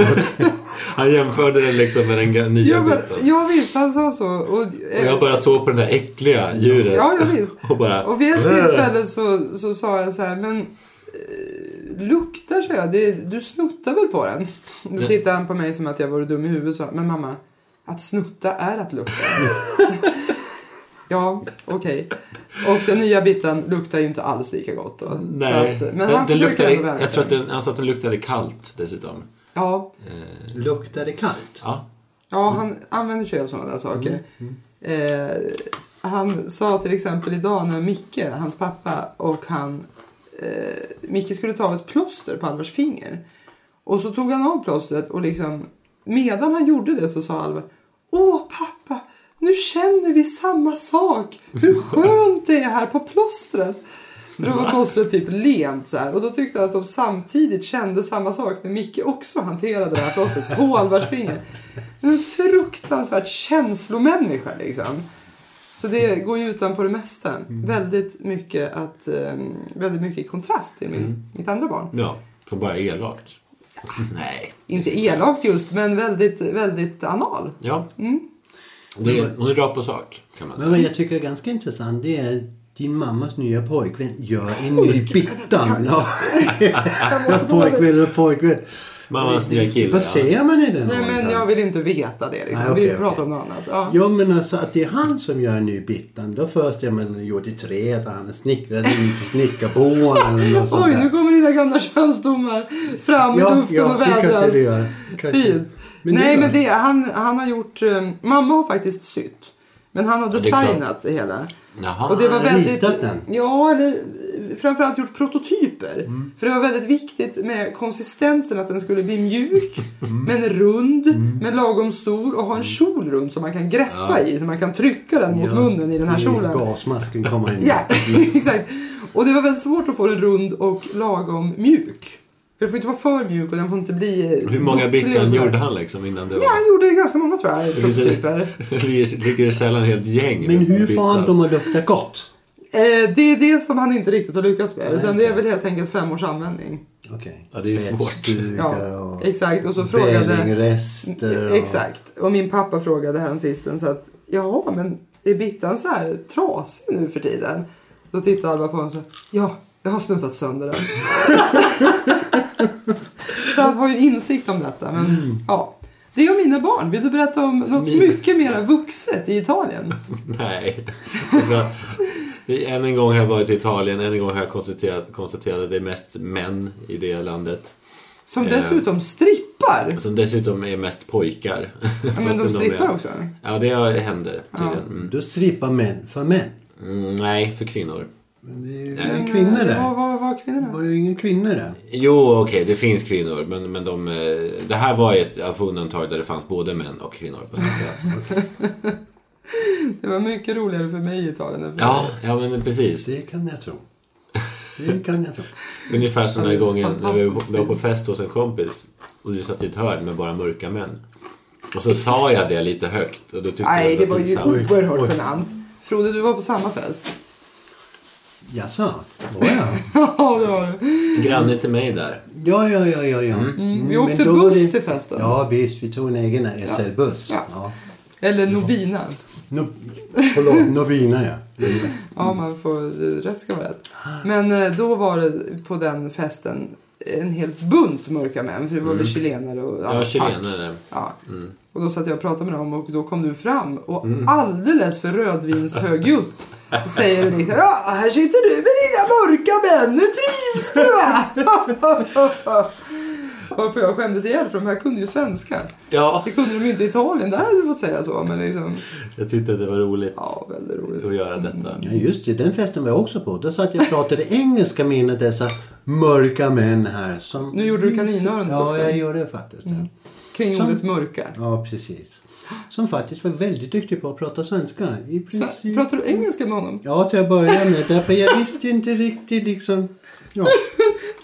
B: Han jämförde den liksom med den ga- nya
C: Ja, men,
B: Bittan.
C: ja visst, han sa så. Och, eh,
B: Och jag bara såg på det där äckliga djuret.
C: Ja, ja visst.
B: Och bara...
C: Och vid ett tillfälle så, så sa jag så här, men eh, luktar så jag, det, du snuttar väl på den? Då tittade han på mig som att jag vore dum i huvudet och sa, men mamma, att snutta är
B: [laughs]
C: att lukta. ja, okej. Och den nya biten luktar ju inte alls lika gott då.
B: Nej,
C: Så att, men
B: men den, den
C: han försöker
B: luktade,
C: ändå vänja
B: jag tror
C: sig.
B: att den, han sa att den luktade kallt dessutom.
C: Ja,
B: Eh,
D: Luktar det kallt?
B: ja.
C: ja han använder sig av sådana där saker. Eh, han sa till exempel idag när Micke, hans pappa och han eh, Micke skulle ta av ett plåster på Alvars finger. Och så tog han av plåstret och liksom medan han gjorde det så sa Alvar Åh pappa, nu känner vi samma sak. Hur skönt det är här på plåstret. För då var plåstret typ lent så här. Och då tyckte han att de samtidigt kände samma sak när Micke också hanterade det här plåstret på Alvars finger. En fruktansvärt känslomänniska liksom. Så det går ju utanpå det mesta.
D: Mm.
C: Väldigt, mycket att, eh, väldigt mycket i kontrast till min,
D: Mm.
C: mitt andra barn.
B: ja, för bara elakt. Nej.
C: Inte elakt just, men väldigt, väldigt anal.
B: Ja.
C: Mm.
B: Det är, hon är rakt på sak, kan man
D: Men
B: säga.
D: vad jag tycker är ganska intressant det är din mammas nya pojkvän gör en ny Bittan. Ja. pojkvän och pojkvän.
B: Mammas nya kille.
D: Vad
B: ja.
D: säger man i den
C: Nej, men
D: åldern?
C: jag vill inte veta det. Liksom.
D: Nej, okej,
C: vi pratar
D: okej.
C: om något annat. Ja.
D: Ja men alltså att det är han som gör en ny Bittan. Då först är man gjort i trä, att han snickrade in på snickarbonen eller något sånt
C: Oj,
D: där.
C: nu kommer dina gamla könsdomar fram i
D: Ja,
C: luften
D: ja,
C: och
D: det kanske
C: vädras.
D: det gör. Kanske.
C: Fint.
D: Men det
C: Nej,
D: gör
C: men
D: det.
C: det, han, han har gjort... eh, mamma har faktiskt sytt. Men han har
B: det är klart.
C: designat det hela.
B: Jaha.
C: Och det var
D: han har
C: väldigt...
D: ritat den?
C: Ja, eller eh, framförallt gjort prototyper.
B: Mm.
C: För det var väldigt viktigt med konsistensen, att den skulle bli mjuk,
B: Mm.
C: men rund, men lagom stor och ha en kjol runt som man kan greppa i, så man kan trycka den mot munnen i den här
D: Nu är
C: kjolen.
D: Gasmasken kommer in.
C: Ja, [laughs] exakt. Och det var väldigt svårt att få den rund och lagom mjuk. För den får inte vara för mjuk och den får inte bli... eh,
B: Hur många
C: bucklig och
B: bitar
C: sådär.
B: gjorde han liksom innan det var...
C: Ja, han gjorde ganska många tror jag,
B: Precis.
C: prototyper.
B: [laughs] Ligger- Ligger i källaren ett helt gäng.
D: Men
B: med
D: hur får
B: bittar.
D: han dem att lukta gott?
C: Eh, det är det som han inte riktigt har lyckats med. Utan det är
D: okej.
C: väl helt enkelt fem års användning.
D: Okej.
B: Ja, det är ju svårt.
D: Tvättstuga
C: Ja,
D: och
C: exakt. Och så frågade...
D: Välingrester och...
C: Exakt. Och min pappa frågade häromsistens att jaha, men är Bittan så här trasig nu för tiden? Då tittade Alva på honom och sa ja, jag har snuttat sönder den. [laughs] så han har ju insikt om detta. Men ja, det är om mina barn. Vill du berätta om något
B: Min-
C: mycket mer vuxet i Italien?
B: Nej. Det är bra. Det är- Än en gång har jag varit i Italien, än en gång har jag konstaterat, konstaterat att det är mest män i det landet.
C: Som
B: Eh.
C: dessutom strippar.
B: Som dessutom är mest pojkar.
C: Ja, men
B: Fastän
C: de
B: är-
C: strippar också.
B: Ja, det händer tydligen. Mm.
D: Då strippar män för män.
B: Mm, nej, för kvinnor.
D: Men det är ju
B: Nej.
D: ingen kvinna
C: Eh, Vad
D: där.
C: var, var
D: Det
C: kvinnorna?
D: var ju ingen kvinna där.
B: Jo, okej, det finns kvinnor. Men, men de, eh, det här var ju ett alltså, undantag där det fanns både män och kvinnor på samma plats.
C: Det var mycket roligare för mig i Italien än för
B: Ja, ja men precis.
D: Det kan jag tro. Det kan jag tro.
B: Ungefär som den här
C: Ja, det
B: gången
C: är
B: när vi
C: fantastiskt
B: var på fest hos en kompis och du satt i ett hörn med bara mörka män. Och så sa jag det lite högt och då tyckte
C: Nej,
B: jag
C: det
B: att
C: var ju
B: pinsamt.
D: Oj,
C: oerhört
D: oj.
C: genant. Frode, du var på samma fest. [laughs]
D: Jaså? Var
C: Mm.
D: jag?
C: Ja, det var du.
B: Granne till mig där.
D: Ja, ja, ja, ja. ja. Mm,
C: vi
D: men
C: åkte
D: då var
C: buss till festen.
D: Ja, visst. Vi tog en egen SL-buss.
C: Ja.
D: Ja.
C: Eller Nobina.
D: No, förlåt, Novina ja.
C: eh, Ja, man får rätt ska vara rätt. Men eh, då var det på den festen en hel bunt mörka män. För det var väl chilenare och
B: Ja,
C: pack.
B: chilenare.
C: Ja. Och då satt jag och pratade med dem och då kom du fram och alldeles för rödvinshögljutt säger du liksom ja, här sitter du med dina mörka män, nu trivs du va? [laughs] Varför jag skämdes ihjäl för de här kunde ju svenska.
B: Ja,
C: Det kunde de ju inte i Italien, där hade du fått säga så. Men liksom,
B: jag tyckte att det var roligt
C: ja Mm. väldigt
B: att
C: roligt.
B: göra detta.
D: Ja, just det. Den festen var jag också på. Då satt jag och pratade engelska med en av dessa mörka män här. Som...
C: Nu gjorde du kaninöron på
D: Ja,
C: festen. Mm.
D: jag gjorde det faktiskt. det.
C: Kring
D: Som-
C: ordet mörka.
D: Ja, precis. Som faktiskt var väldigt duktig på att prata svenska. I
C: Så,
D: princip.
C: pratar du engelska med honom?
D: Ja, till att börja med. Därför jag visste ju inte riktigt liksom.
C: [laughs]
D: Ja,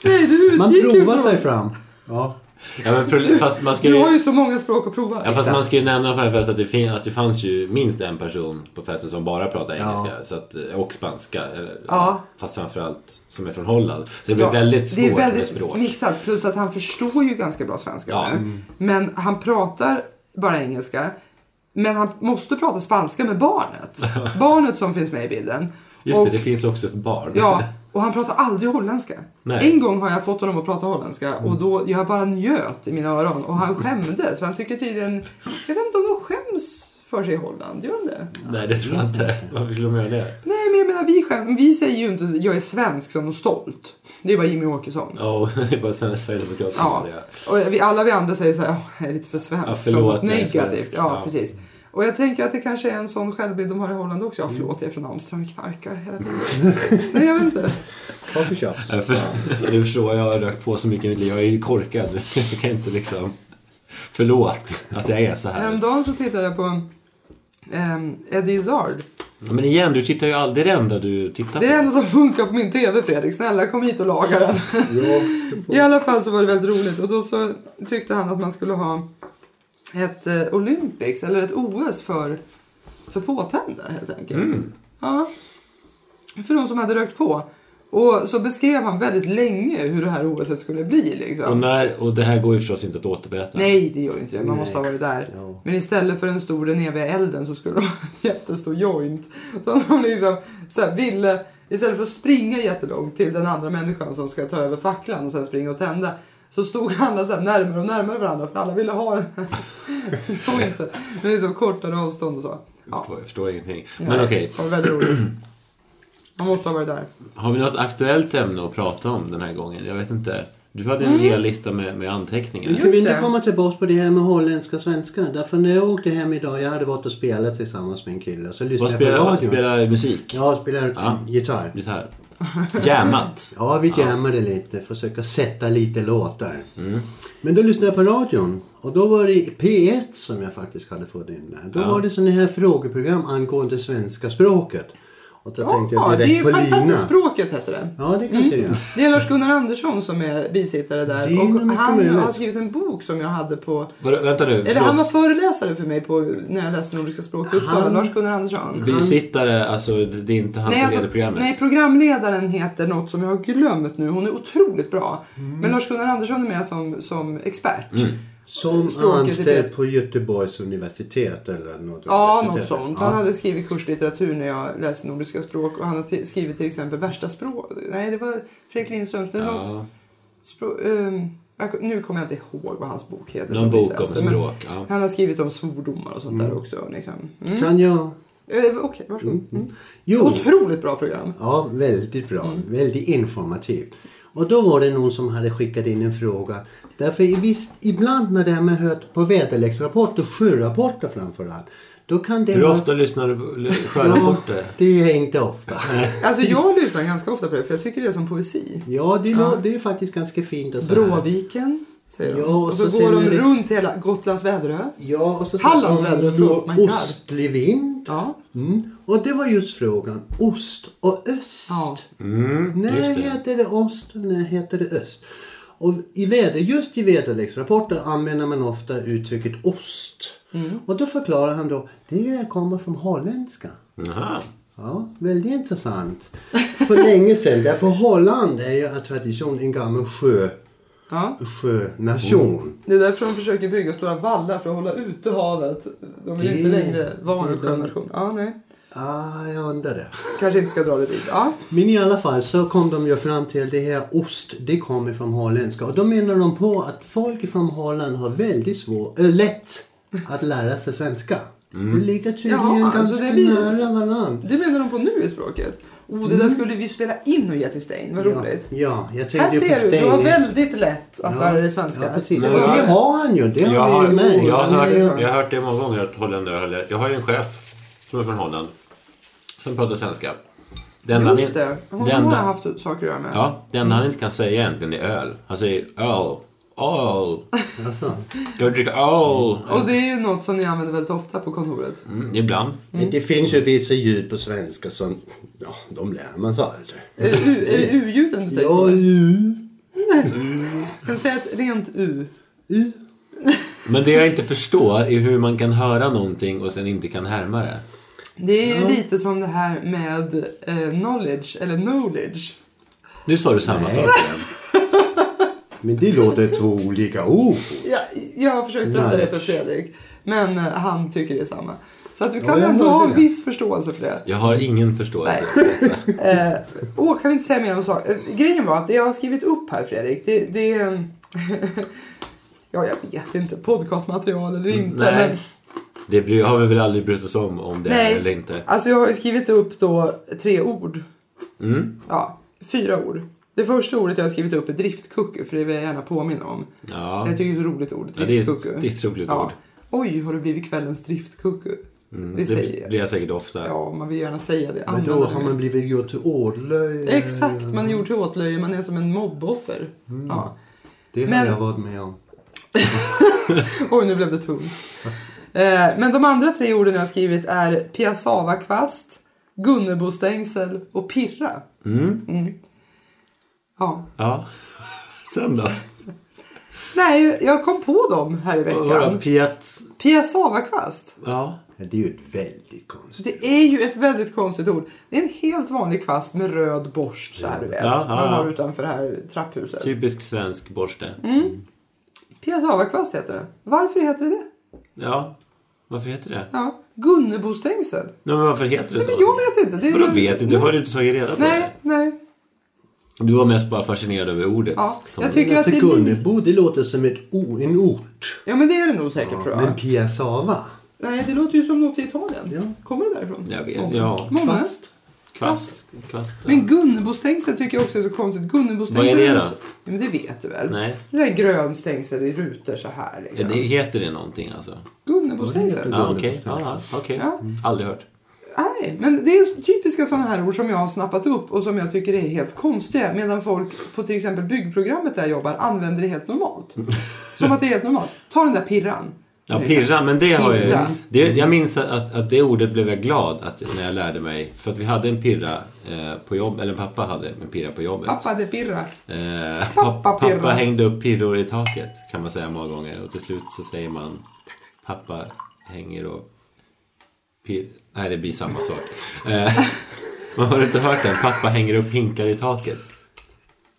C: Nej, du utgick
D: man
C: ju typ
D: provar
C: från-
D: sig fram. Ja.
B: Ja, men problem, fast man ska
C: Du har
B: ju...
C: ju så många språk att prova.
B: Ja, fast man ska ju nämna på den här festen att det, fin- att det fanns ju minst en person på festen som bara pratade
D: Ja.
B: engelska så att, eh, och spanska. Eller,
C: Ja.
B: Fast framförallt som är från Holland. Så det blir
C: Ja,
B: väldigt
C: det är
B: svårt med
C: väldigt
B: språk.
C: mixat. Plus att han förstår ju ganska bra svenska
B: Ja. Mm.
C: nu. Men han pratar bara engelska. Men han måste prata spanska
B: [laughs]
C: med barnet. barnet som finns med i bilden.
B: Just det,
C: Och-
B: det finns också ett barn.
C: Ja, och han pratar aldrig holländska.
B: Nej. Mm.
C: En gång har jag fått honom att prata holländska och då, jag bara njöt i mina öron
B: [laughs]
C: och han skämdes. För han tycker tydligen, jag vet inte om de skäms för sig i Holland, gör de det?
B: [laughs] Nej, det tror jag inte. Varför skulle de göra det?
C: Nej, men jag menar vi skäms, vi säger ju inte jag är svensk som något stolt. Det är bara Jimmy Åkesson.
B: Ja, och [laughs] det är bara svenska sverigedemokrater som
C: Ja,
B: gör det.
C: och vi, alla vi andra säger så här, "Åh, jag är lite för svensk.
B: Ja, förlåt,
C: som
B: jag är
C: negativt.
B: svensk.
C: Ja,
B: Ja.
C: precis. Och jag tänker att det kanske är en sån självbild de har i Holland också. Ja,
B: Mm.
C: förlåt, jag är från Amsterdam, jag knarkar
B: [laughs]
C: hela tiden. Nej, jag vet inte.
D: Coffee shops.
B: Ja, För, [laughs] nu förstår jag, jag har rökt på så mycket i mitt liv. Jag är ju korkad. [laughs] Jag kan inte liksom... Förlåt att jag är så här.
C: Häromdagen så tittade jag på ehm, Eddie Izzard.
B: Ja, Men igen, du tittar ju aldrig det enda du tittar
C: Mm. Det är det
B: på.
C: enda som funkar på min TV, Fredrik. Snälla, kom hit och laga den. [laughs] I alla fall så var det väldigt roligt. Och då så tyckte han att man skulle ha ett eh, Olympics, eller ett OS för, för påtända helt enkelt. Ja. För de som hade rökt på. Och så beskrev han väldigt länge hur det här OSet skulle bli. Liksom.
B: Och, när, och det här går ju förstås inte att återberätta.
C: Nej, det gör ju inte det. Man
D: Nej.
C: måste ha varit där.
D: Ja.
C: Men istället för en stor den eviga elden så skulle de ha en jättestor joint. Som de liksom så här, ville, istället för att springa jättelångt till den andra människan som ska ta över facklan och sen springa och tända. Så stod alla så här närmare och närmare varandra för alla ville ha den här [laughs] jointen. Men liksom kortare avstånd och så. Ja.
B: Jag förstår ingenting.
C: Nej,
B: Men okej,
C: Det var väldigt roligt. Man måste ha varit där.
B: har vi något aktuellt ämne att prata om den här gången? Jag vet inte. Du hade
C: Mm.
B: en hel lista med, med anteckningar.
C: Jo.
D: Kan vi inte
C: det.
D: komma tillbaka på det här med holländska svenska? Därför när jag åkte hem idag, jag hade varit och spelat tillsammans med en kille. Så
B: Vad
D: lyssnade jag på
B: spelar,
D: radion.
B: spelar musik?
D: Ja, spelar
B: Ja.
D: gitarr.
B: Det är så här. Jammat.
D: Ja, vi jammade lite. Försöka sätta lite låtar.
C: Mm.
D: Men då lyssnade jag på radion. Och då var det P1 som jag faktiskt hade fått in där. Då
B: Ja.
D: var det sådana här frågeprogram angående svenska språket. Och då tänkte
C: Ja,
D: jag
C: det
D: direkt
C: är
D: på Lina.
C: fantastiskt Mm. språket heter det.
D: Ja, det kanske det är.
C: Det är Lars-Gunnar Andersson som är bisittare
D: Det är
C: där.
D: nog
C: Och
D: mycket
C: han
D: möjligt.
C: har skrivit en bok som jag hade på...
B: Vadå, Vänta nu,
C: Eller han var
B: förlåt.
C: föreläsare för mig på, när jag läste Nordiska språk i Uppsala.
D: Han-
C: Lars-Gunnar Andersson.
B: Bisittare, alltså det är inte han som
C: alltså,
B: leder programmet.
C: nej, programledaren heter något som jag har glömt nu. Hon är otroligt bra.
D: Mm.
C: Men Lars-Gunnar Andersson är med som, som expert.
B: Mm.
D: Som
C: Språket är
D: anställd
C: det.
D: på Göteborgs universitet eller något
C: Ja, något
D: universitet.
C: sånt. Han
D: Ja.
C: hade skrivit kurslitteratur när jag läste nordiska språk och han har t- skrivit till exempel värsta språk... Nej, det var Fredrik Lindström. Det var något
B: ja,
C: Språ- ehm, jag- nu kommer jag inte ihåg vad hans bok heter.
B: någon
C: som vi
B: bok om
C: läste, men
B: språk. Ja.
C: Han har skrivit om svordomar och sånt där också. Liksom. Mm.
D: Kan jag?
C: Eh, Okej, varsågod. Mm.
D: Jo.
C: Otroligt bra program.
D: Ja, väldigt bra. Väldigt informativt. Och då var det någon som hade skickat in en fråga. Därför i visst, ibland när det här med hört på väderleksrapporter, sjörapporter framförallt. Då kan det
B: Hur
D: vara-
B: ofta lyssnar du på l-
D: Ja,
B: sjörapporter?
D: det är inte ofta.
C: Alltså jag lyssnar ganska ofta på det för jag tycker det är som poesi.
D: Ja, det, lå- det är faktiskt ganska fint. Och så här.
C: Bråviken säger de.
D: Ja, och
C: och så,
D: så
C: går
D: sen
C: de
D: är det-
C: runt hela Gotlands väderö.
D: Ja, och så
C: Hallands
D: snackade
C: väder,
D: om
C: förlåt, man kan.
D: Ostlig vind.
C: Ja.
D: Mm. Och det var just frågan. Ost och öst.
C: Ja.
B: Mm,
D: När
B: just det.
D: heter det ost och när heter det öst? Och i väder, just i väderleksrapporter använder man ofta uttrycket ost.
B: Mm.
D: Och då förklarar han då, det kommer från holländska.
B: Jaha.
D: Ja, väldigt intressant. För länge sedan, därför Holland är ju av tradition en gammal sjö,
C: Ja.
D: sjönation.
B: Mm.
C: Det är därför de försöker bygga stora vallar för att hålla ute havet. De är
D: Det-
C: inte längre van vid
D: det-
C: sjönation. Ja, nej.
D: Ah, jag undrar det.
C: Kanske inte ska dra det dit. Ja.
D: Men i alla fall så kom de ju fram till det här ost, det kommer från holländska. Och då menar de på att folk från Holland har väldigt svårt, äh, lätt att lära sig svenska.
B: Mm.
D: Vi ligger tydligen
C: Jaha,
D: ganska
C: alltså det blir-
D: nära varandra.
C: Det menar de på nu i språket. Oh, det där skulle vi spela in och ge till Stein. Vad roligt.
D: Mm. Ja, ja, jag
C: Här
D: tänkte på
C: ser du, du har
D: Stein.
C: väldigt lätt att lära dig svenska.
D: Ja, precis.
B: Men
D: och
B: jag-
D: det har han ju. Det
B: Jag
D: har
B: har,
D: vi ju märkt.
B: jag, har
D: Han är
B: hört,
D: ju-
B: jag har hört det många gånger att holländare har lärt. Jag har ju en chef som är från Holland. Som pratar svenska. Det enda
C: Just
B: han-
C: det. Hon
B: det
C: har
B: enda-
C: haft saker att göra med.
B: Ja, det enda han inte kan säga egentligen är öl. Han säger öl. Öl.
D: Alltså,
B: Jag dricker öl.
C: Och det är ju något som ni använder väldigt ofta på kontoret.
B: Mm, ibland.
D: Men det finns ju vissa ljud på svenska som, ja, de lär man sig aldrig.
C: Är det u- är det u-ljuden du tänker
D: Ja,
C: på?
D: u,
C: Kan du säga ett rent u?
D: u.
B: Men det jag inte förstår är hur man kan höra någonting och sen inte kan härma det.
C: Det är ju lite som det här med eh, knowledge, eller knowledge.
B: Nu sa du samma sak igen.
D: Men det låter två olika ord.
C: Jag, jag har försökt berätta det för
D: Knowledge.
C: Fredrik, men eh, han tycker det är samma. Så att du
D: Ja,
C: kan
D: jag
C: ändå
D: hörde
C: ha en
D: det.
C: viss förståelse för det.
B: Jag har ingen [laughs] förståelse.
C: Eh, åh, kan vi inte säga mer om saker? Eh, grejen var att det jag har skrivit upp här Fredrik, det, det är... en- [laughs] ja, jag vet inte. Podcastmaterial eller inte.
B: nej.
C: men-
B: Det bry- har vi väl aldrig brytt oss om, om det är
C: Nej.
B: eller inte.
C: Alltså jag har ju skrivit upp då tre ord.
B: Mm.
C: Ja, fyra ord. Det första ordet jag har skrivit upp är driftkucku för det vill jag gärna påminna om.
B: Ja.
C: Jag tycker det är ett roligt ord.
B: Ja, det är ett-
C: Driftkucku.
B: det är ett roligt ord.
C: Oj, har det blivit kvällens driftkucku?
B: Mm,
C: det
B: det
C: säger
B: blir jag säkert ofta.
C: Ja, man vill gärna säga det.
D: Men då
C: Använda
D: har
C: det.
D: man blivit gjort till åtlöj.
C: Exakt, man är gjord till åtlöje. Man är som en mobboffer.
D: Mm.
C: Ja.
D: Det har
C: Men-
D: jag varit med om.
C: Oj, nu blev det tungt. Eh, Men de andra tre orden jag har skrivit är piassavakvast, gunnebostängsel och pirra.
B: Mm.
C: Ja.
B: ja. [laughs] Sen då?
C: Nej, jag kom på dem här i
B: Vadå,
C: veckan.
B: Piet?
C: Piassavakvast.
B: Ja.
D: Men Det är ju ett väldigt konstigt.
C: Det är ju ett väldigt konstigt ord. Det är en helt vanlig kvast med röd borst så här du vet.
B: Ja, ja,
C: Man
B: ja. Typ.
C: har utanför det här trapphuset.
B: Typisk svensk borste.
C: Piassavakvast heter det. Varför heter det det?
B: Ja. Varför heter det?
C: Ja. Gunnebostängsel.
B: Nej, men varför heter det så?
C: Men jag vet inte. Det är
B: Vadå vet inte? Har du inte tagit reda på
C: Nej, nej.
B: det? Du var mest bara fascinerad över ordet.
C: Ja, jag tycker-
D: Men
C: att
D: alltså
C: det är
D: Gunnebo, det låter som ett o, en ort.
C: Ja men det är det nog säkert tror jag.
D: Men Piazzava,
C: Nej, det låter ju som något i Italien.
D: Ja.
C: Kommer det därifrån?
B: Jag vet,
C: Många.
B: ja.
C: Många.
D: kvast.
B: Kvast. Kvast. ja.
C: Men Gunnebostängsel tycker jag också är så konstigt. Gunnebostängsel
B: Mm. Vad är det då?
C: också- Ja, men det vet du väl?
B: Nej.
C: Det där grön stängsel i rutor så här
B: Ja,
C: liksom.
B: det heter det någonting alltså?
C: Gunnebostängsel?
B: Ja, okej. Ja, ja, okej.
C: Ja.
B: Mm. Aldrig hört.
C: Nej, men det är typiska sådana här ord som jag har snappat upp och som jag tycker är helt konstiga. Medan folk på till exempel byggprogrammet där jag jobbar använder det
B: [laughs]
C: helt normalt. som att det är helt normalt. Ta den där pirran.
B: Ja, pirra, men det har jag ju...
C: Pirra.
B: Det, jag minns att, att det ordet blev jag glad att, när jag lärde mig. För att vi hade en pirra eh, på jobbet, eller pappa hade en pirra på jobbet.
C: Pappa det pirra.
B: Eh,
C: Pappa
B: pappa,
C: pirrar.
B: pappa hängde upp pirror i taket kan man säga många gånger och till slut så säger man pappa hänger och pirr... Nej, det blir samma sak. Eh, [laughs] man har inte hört den? Pappa hänger upp hinkar i taket.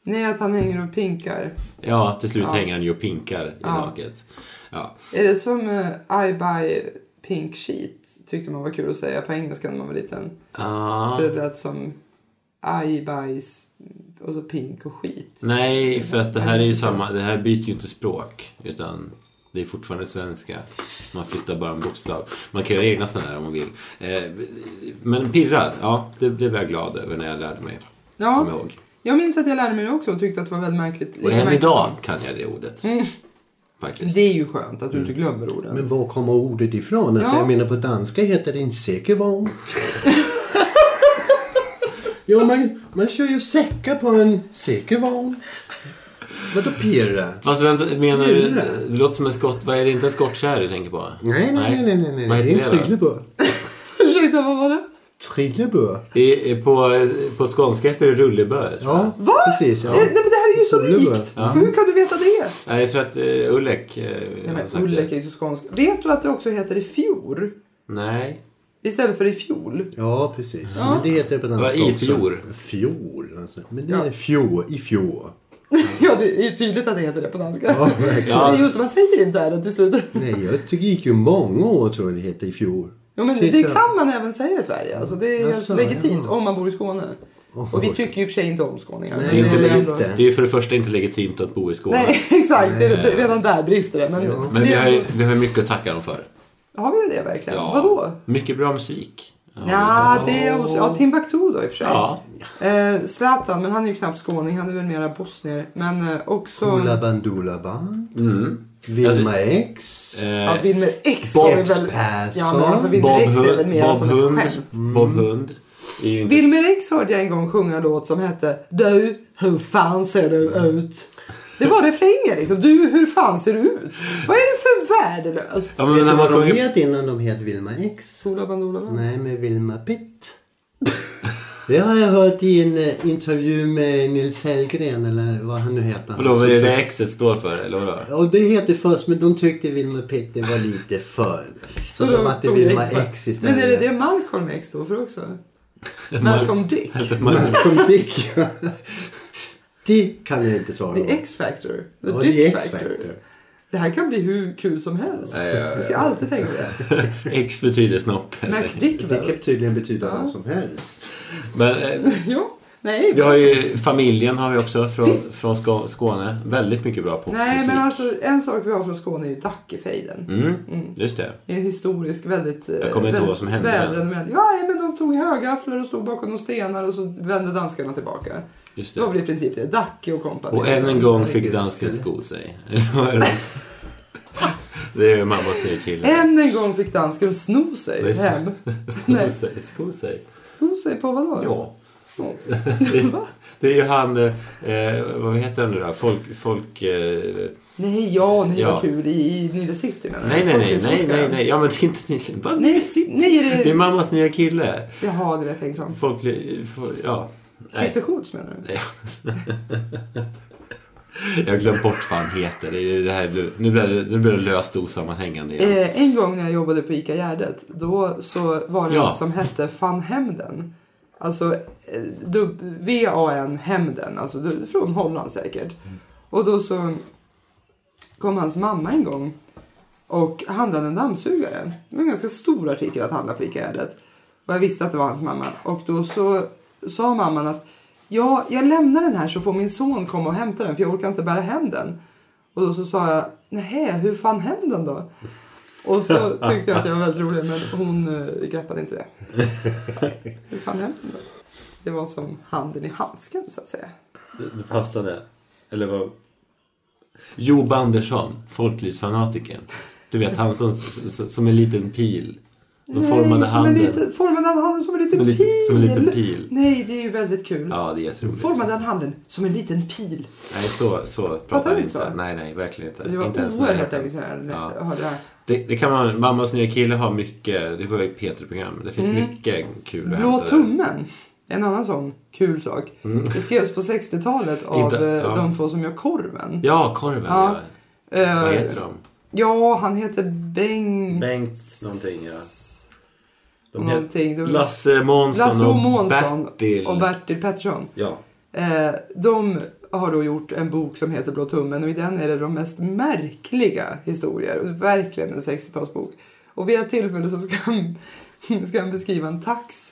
C: Nej, att han hänger och pinkar.
B: Ja, till slut
C: Ja.
B: hänger han ju och pinkar i
C: Ja.
B: taket. Ja.
C: Är det som eh, I buy pink sheet? Tyckte man var kul att säga på engelska när man var liten.
B: Ah.
C: För det lät som I buys och så pink och skit.
D: Typ.
B: Nej, för att det här är ju samma. Det här byter ju inte språk. Utan det är fortfarande svenska. Man flyttar bara en bokstav. Man kan göra egna sådana där om man vill. Eh, Men pirrar, ja, det blev jag glad över när jag lärde mig. Kom
C: Ja,
B: ihåg.
C: jag minns att jag lärde mig det också och tyckte att det var väldigt märkligt.
B: Och
C: lika
B: än
C: märkligt.
B: idag kan jag det ordet.
D: Mm.
B: Faktiskt.
C: Det är ju skönt att du inte glömmer orden.
D: Men var kommer ordet ifrån? Alltså,
C: Ja.
D: Jag menar på danska heter det
C: [laughs]
D: en säkervagn. jo, man, man kör ju säckar på en säkervagn. Vadå pirra?
B: Fast vänta, menar du...
D: Pirra.
B: Det låter som en skott... Vad är det inte en skottkärra du tänker på?
D: Nej, nej, nej, nej, nej.
B: Vad
D: Det är en
B: heter det då?
D: trillebör.
C: [laughs] Ursäkta, vad var det?
D: Trillebör.
B: I- i- På, på skånska heter det rullebör.
D: Ja,
C: Va?
D: precis.
C: Eh,
D: Ja.
C: Nej, men det här är ju så
D: Ullebö.
C: likt! Hur kan du veta det?
B: Nej, för att eh, Ullek... eh,
C: Nej,
B: har
C: men
B: sagt
C: Ullek är
B: det.
C: ju så skånsk. Vet du att det också heter i fjol?
B: Nej.
C: Istället för i fjol? [laughs]
D: Ja, precis. Men det heter det på danska
B: Vad är i
D: också.
B: fjol?
D: Fjol, alltså. Men det
C: Ja.
D: är fjol, i fjol.
C: Ja, det är ju tydligt att det heter det på danska.
D: Ja,
C: [laughs]
D: verkligen.
C: Men det är Just man säger inte är det till slut.
D: Nej, jag tycker det gick ju många år tror jag det heter i fjol.
C: Jo, men
D: Precis
C: det
D: så.
C: kan man även säga i Sverige. Alltså, det är helt
D: Jaså,
C: legitimt
D: ja.
C: om man bor i Skåne. Och vi tycker ju i och för sig inte om skåningar.
D: Nej,
C: men
B: Det är, inte
D: Nej,
B: legit,
D: ändå.
B: det är ju för det första inte legitimt att bo i Skåne.
C: Nej, [laughs] exakt. Det, det, redan där brister det. Men,
B: Men
C: det-
B: vi har, ju- vi har ju mycket att tacka dem för.
C: har vi ju det verkligen? Vadå?
B: Mycket bra musik. Ja,
C: Ja, det är också, ja, Timbuktu då i och för sig.
B: Ja.
C: Eh, Zlatan, men han är ju knappt skåning. Han är väl mera bosnier. Men eh, också...
D: Ola Bandulaban. Vilma
B: Alltså-
D: X.
C: Ja, Wilmer X
B: Bob
C: var ju väl...
D: Persson.
C: Ja, men alltså Wilmer
B: Bob
C: X är väl
B: Hund.
C: mera
B: Bob
C: som ett
B: Hund. Mm.
C: skämt.
B: Bob Hund. Är ju inte,
C: Wilmer X hörde jag en gång sjunga en låt som hette Du, hur fan ser du ut? Det var refrängen liksom. Du, hur fan ser du ut? Vad är det för värdelöst?
B: ja, men
D: Vet
B: när
D: du
B: man
D: vad de
B: sjunger...
D: het innan de het Vilma X?
C: Sola Bandola va?
D: Nej, men Vilma Pitt. Det har jag hört i en eh, intervju med Nils Hellgren eller vad han nu heter.
B: Vadå, vad är det exet står för? Eller vadå?
D: Ja, det heter först, men de tyckte Vilma Pitt det var lite för. Så de hette
C: tog det
D: Vilma
C: va?
D: X istället.
C: Men är det det Malcolm X då för också? Malcolm Dick?
B: Man- [laughs]
D: Malcolm Dick. ja. [laughs] det kan jag inte svara
C: The
D: på.
C: X-Factor? The
D: Ja, det
C: Dick
D: är
C: Factor?
D: X-Factor.
C: Det här kan bli hur kul som helst.
B: Ja, ja, ja.
C: Du ska alltid tänka
B: [laughs]
C: det.
B: X betyder snopp. helt enkelt.
C: McDick
D: Det
C: väl?
D: kan tydligen betyda vad som helst.
B: Men eh,
C: Ja. Nej,
B: vi har ju familjen har vi också från, från Ska- Skåne. Väldigt mycket bra popmusik.
C: Nej, men alltså en sak vi har från Skåne är ju Dackefejden.
B: Mm, just det.
C: Det är En historisk väldigt... eh,
B: Jag kommer inte ihåg vad som hände.
C: välrenommerad- Ja, nej, men de tog högafflar och stod bakom de stenar och så vände danskarna tillbaka.
B: Just
C: Det
B: det.
C: var väl i princip det. Dacke och kompani.
B: Och än
C: liksom.
B: en gång fick dansken sko sig. [laughs] Eller vad är
C: [laughs]
B: det? Det är ju mamma säger killen.
C: Än en gång fick dansken sno
B: Det är
C: sig
B: så-
C: hem.
B: Sko sig, sko sig.
C: Sno sig på vadå?
B: Ja.
C: Ja. [laughs]
B: Det, det är ju han, eh, eh, vad heter han nu då? Folk, folk... Eh,
C: Nej, ja, nej
B: Ja.
C: vad kul. I, i Nile City menar
B: nej,
C: jag.
B: nej, nej, nej, nej,
C: Folkhögskolan.
B: nej. Ja, men det är inte ni. Vad?
C: Nej, si- nej, det-
B: Det är mammas nya kille.
C: Jaha, det var jag tänkte om.
B: Folk, fo- ja. Nej.
C: Christer Schultz menar du?
B: Nej. Jag har glömt bort vad han heter. Det är ju det här, blev- nu blir det, nu blir det löst och osammanhängande igen.
C: Eh, en gång när jag jobbade på ICA Gärdet, då så var det
B: Ja.
C: en som hette Van Hemden. Alltså eh, dub- V-A-N Hemden, alltså du- från Holland säkert.
B: Mm.
C: Och då så kom hans mamma en gång och handlade en dammsugare. Det var en ganska stor artikel att handla på ICA Gärdet. Och jag visste att det var hans mamma. Och då så sa mamman att ja, jag lämnar den här så får min son komma och hämta den för jag orkar inte bära hem den. Och då så sa jag, nej, hur fan hem den då? Och
B: [laughs]
C: så tyckte jag att jag var väldigt rolig men hon eh, greppade inte det. Hur fan hem den då? Det var som handen i handsken så att säga.
B: Det, det passade. Eller vad? Job Andersson, folklivsfanatikern. Du vet han som, som, som en liten pil. De formade
C: Nej, som en
B: handen.
C: liten- Formade han handen som en liten
B: Som en liten-
C: pil?
B: som en liten pil.
C: Nej, det är ju väldigt kul.
B: Ja, det är liksom- jätteroligt.
C: Formade han handen som en liten pil?
B: Nej, så, så
C: Pratar
B: pratar
C: du
B: vi
C: inte
B: inte.
C: så?
B: Nej, nej, verkligen inte.
C: Det var
B: inte ens
C: oerhört
B: närheten.
C: länge sedan jag
B: Ja.
C: hörde det här.
B: Det, det kan man, Mammas nya kille har mycket, det var ju Peter program. Det finns mycket kul att
C: Mm. Blå
B: hämta där.
C: tummen. En annan sån kul sak. Det skrevs på 60-talet av
B: Inte-
C: eh,
B: ja.
C: de två som gör korven.
B: Ja, korven.
C: Ja.
B: Ja.
C: Eh,
B: Vad heter de?
C: Ja, han heter Bengt...
B: Bengts någonting, ja. De heter
C: Mm. Någonting. De-
B: Lasse Månsson
C: Lasse
B: och
C: och Månsson
B: Bertil.
C: och Bertil Pettersson.
B: Ja.
C: Eh, de har då gjort en bok som heter Blå tummen och i den är det de mest märkliga historier. Och Verkligen en 60-talsbok. Och vid ett tillfälle så ska han, [laughs] ska han beskriva en tax.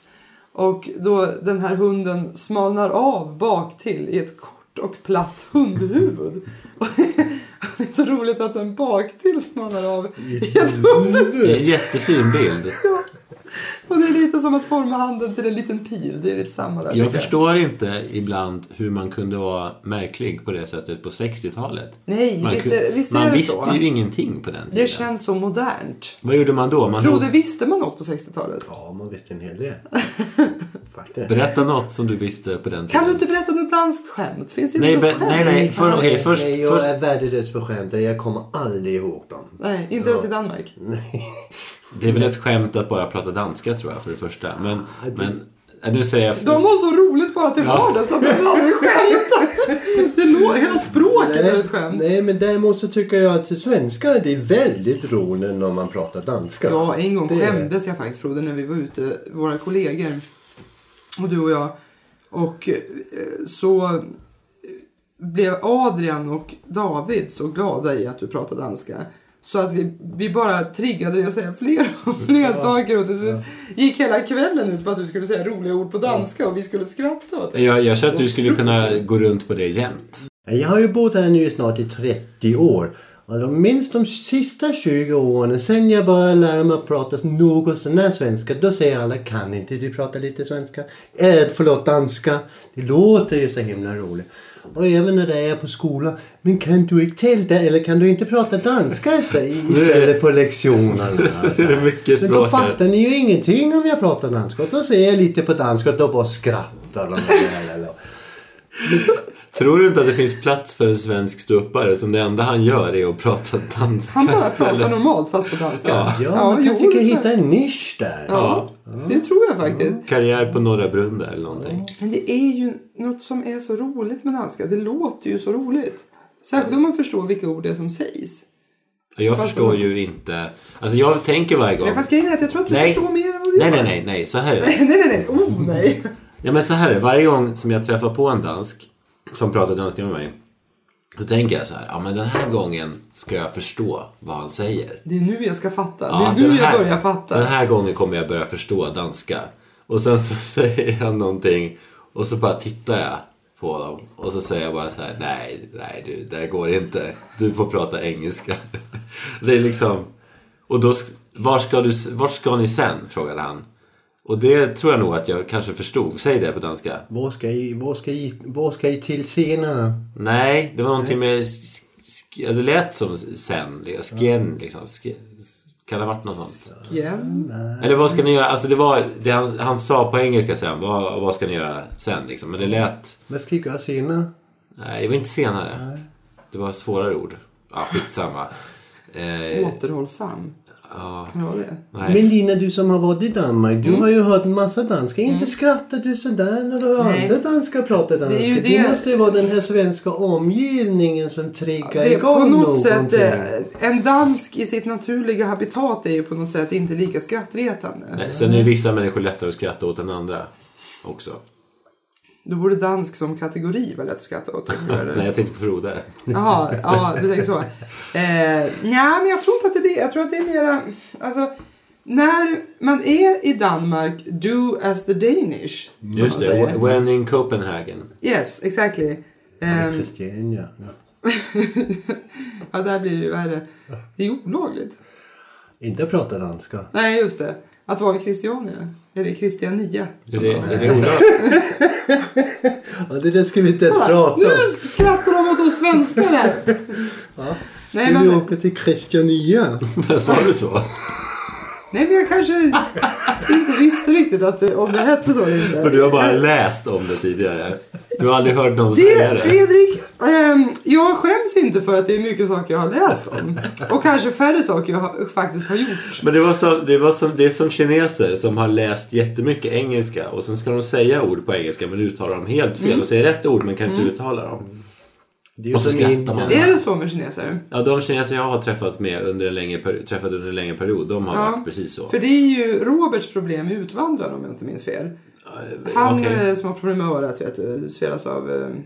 C: Och då den här hunden smalnar av bak till i ett kort och platt hundhuvud. [laughs] Och det är så roligt att den bak till smalnar av i ett hundhuvud.
B: Det är en jättefin bild.
C: Och det är lite som att forma handen till en liten pil. Det är lite samma där. tycker
B: Jag förstår inte ibland hur man kunde vara märklig på det sättet på 60-talet.
C: Nej,
B: man
C: visst
B: kun-
C: är- visst är
B: man
C: det
B: visste
C: så.
B: ju ingenting på den tiden.
C: Det känns så modernt.
B: Vad gjorde man då? Man
C: Frode, visste man något på 60-talet?
D: Ja, man visste en
C: [laughs]
D: hel del. Faktiskt.
B: Berätta något som du visste på den tiden.
C: Kan du inte berätta något danskt skämt? Finns det inte
B: Nej,
C: något
B: be,
C: skämt?
B: nej, nej. För, okay, först,
D: Nej, jag
B: först,
D: är värdelös för skämt. Jag kommer aldrig ihåg dem.
C: Nej, inte ens i Danmark.
B: Mm. det är väl ett skämt att bara prata danska tror jag för det första. Men, men äh, nu säger jag...
C: De har så roligt bara till
B: Ja.
C: vardags. De behöver
B: [laughs]
C: aldrig skämta. Det lå- hela språket är ett skämt.
D: nej, men däremot så tycker jag att svenska det är väldigt roligt när man pratar danska.
C: Ja, en gång
D: Det-
C: skämdes jag faktiskt Frode när vi var ute, våra kollegor och du och jag. Och eh, så blev Adrian och David så glada i att du pratade danska. Så att vi, vi bara triggade dig att säga fler och fler saker. Och till slut gick hela kvällen ut på att du skulle säga roliga ord på danska och vi skulle skratta åt det.
B: Jag, jag känner att du skulle kunna gå runt på det jämt.
D: Jag har ju bott här nu snart i 30 år. Och de minst de sista 20 åren, sen jag började lära mig att prata något sånär svenska, då säger alla kan inte du prata lite svenska? Eh, förlåt, danska. Det låter ju så himla roligt. Och även när jag är på skolan, men kan du inte tälta eller kan du inte prata
B: [laughs]
D: danska istället- istället på lektionerna? Alltså.
B: Det är mycket
D: Men
B: språk
D: då
B: här.
D: fattar ni ju ingenting om jag pratar danska. Och då säger jag lite på danska och då bara skrattar de.
B: Tror du inte att det finns plats för en svensk ståuppare som det enda han gör är att prata danska
C: Han bara pratar
B: istället?
C: normalt fast på danska. Ja,
D: Ja, man
C: jo,
D: kanske kan
C: det-
D: hitta en nisch där.
C: Ja, det tror jag faktiskt.
B: Karriär på Norra Brunn där eller någonting.
C: Men det är ju något som är så roligt med danska. Det låter ju så roligt. Särskilt om man förstår vilka ord det är som sägs.
B: Jag
C: Fast-
B: förstår ju inte. Alltså jag tänker varje gång.
C: Ja. Fast grejen är att jag tror att du
B: Nej.
C: förstår mer än vad du
B: Nej,
C: gör.
B: nej, nej, nej. Så här är det.
C: [laughs] nej, nej, nej. Oh, nej.
B: Ja men så här är det. varje gång som jag träffar på en dansk som pratar danska med mig så tänker jag så här, ja men den här gången ska jag förstå vad han säger.
C: Det är nu jag ska fatta.
B: Ja,
C: det är nu
B: den här-
C: jag börjar fatta.
B: Den här gången kommer jag börja förstå danska. Och sen så [laughs] säger han någonting och så bara tittar jag på dem och så säger jag bara så här, nej, nej du, det här går inte. Du får prata engelska. [laughs] Det är liksom, och då, sk- var ska, du, s- vart ska ni sen? frågade han. Och det tror jag nog att jag kanske förstod. Säg det på danska.
D: Vad ska jag, vad ska jag, vad ska jag till senare?
B: Nej, det var någonting med... sk- sk- alltså Det lät som sen, liksom. skien liksom. Sk- s- Kan det ha varit något sånt?
C: Igen.
B: Eller vad ska ni göra? Alltså det var det han, han sa på engelska sen. Vad, vad ska ni göra sen liksom? Men det lät...
D: Vad ska jag göra senare?
B: Nej, det var inte senare. Det var svårare ord. [laughs] Ja, skitsamma. Eh,
C: Återhållsam.
B: ja,
C: Kan det vara det?
B: nej. Mm.
D: Men Lina, du som har varit i Danmark, du har ju hört en massa danska. Inte skrattar du sådär när du hör
C: Mm. Nej.
D: andra danskar prata danska.
C: ju
D: Det,
C: det-
D: måste ju vara den här svenska omgivningen som triggar
C: Det är
D: igång
C: på något
D: någonting.
C: sätt, eh, en dansk i sitt naturliga habitat är ju på något sätt inte lika skrattretande.
B: Nej, Eh, Sen är vissa människor lättare att skratta åt än andra också.
C: Då borde dansk som kategori vara lätt att skratta åt. tror du, eller?
B: Nej, jag tänkte på Frode.
C: Jaha, ja, du tänker så. Eh, nej, men jag tror inte att det är det. Jag tror att det är mera... Alltså, när man är i Danmark, do as the Danish. som
B: Just
C: man
B: det,
C: säger.
B: wh- when in Copenhagen.
C: Yes, exactly. Ehm,
D: Christiania. Ja.
C: ja, där blir det ju värre. Det är ju olagligt.
D: Inte prata danska.
C: Nej, just det. Att vara i Christiania. Är det Christiania?
B: Är det, är [laughs] det olagligt?
D: Ja, det där ska vi inte ens prata om.
C: Nu skrattar de åt oss
B: [laughs]
C: svenskar här! Nej,
D: Ska vi
C: men,
D: åka till Christiania?
B: Sa du så?
C: nej, men jag kanske inte visste riktigt att det, om det hette så eller inte.
B: För du har bara läst om det tidigare. Du har aldrig hört någon säga
C: Det,
B: det.
C: Fredrik, ehm, jag skäms inte för att det är mycket saker jag har läst om. Och kanske färre saker jag har, faktiskt har gjort.
B: Men det, var så, det, var som, det är som kineser som har läst jättemycket engelska och sen ska de säga ord på engelska men uttalar dem helt
C: Mm.
B: fel och säger rätt ord men kan inte uttala dem.
D: Det är ju
B: Och så
D: som
B: skrattar
D: Indien.
B: man.
C: Är det så med kineser?
B: Ja, de kineser jag har träffat med under en längre, peri- träffat under en längre period, de har
C: Ja.
B: varit precis så.
C: För det är ju Roberts problem med Utvandrarna om jag inte minns fel. Han
B: Okej.
C: eh, som har problem med örat vet du, spelas av... ehm,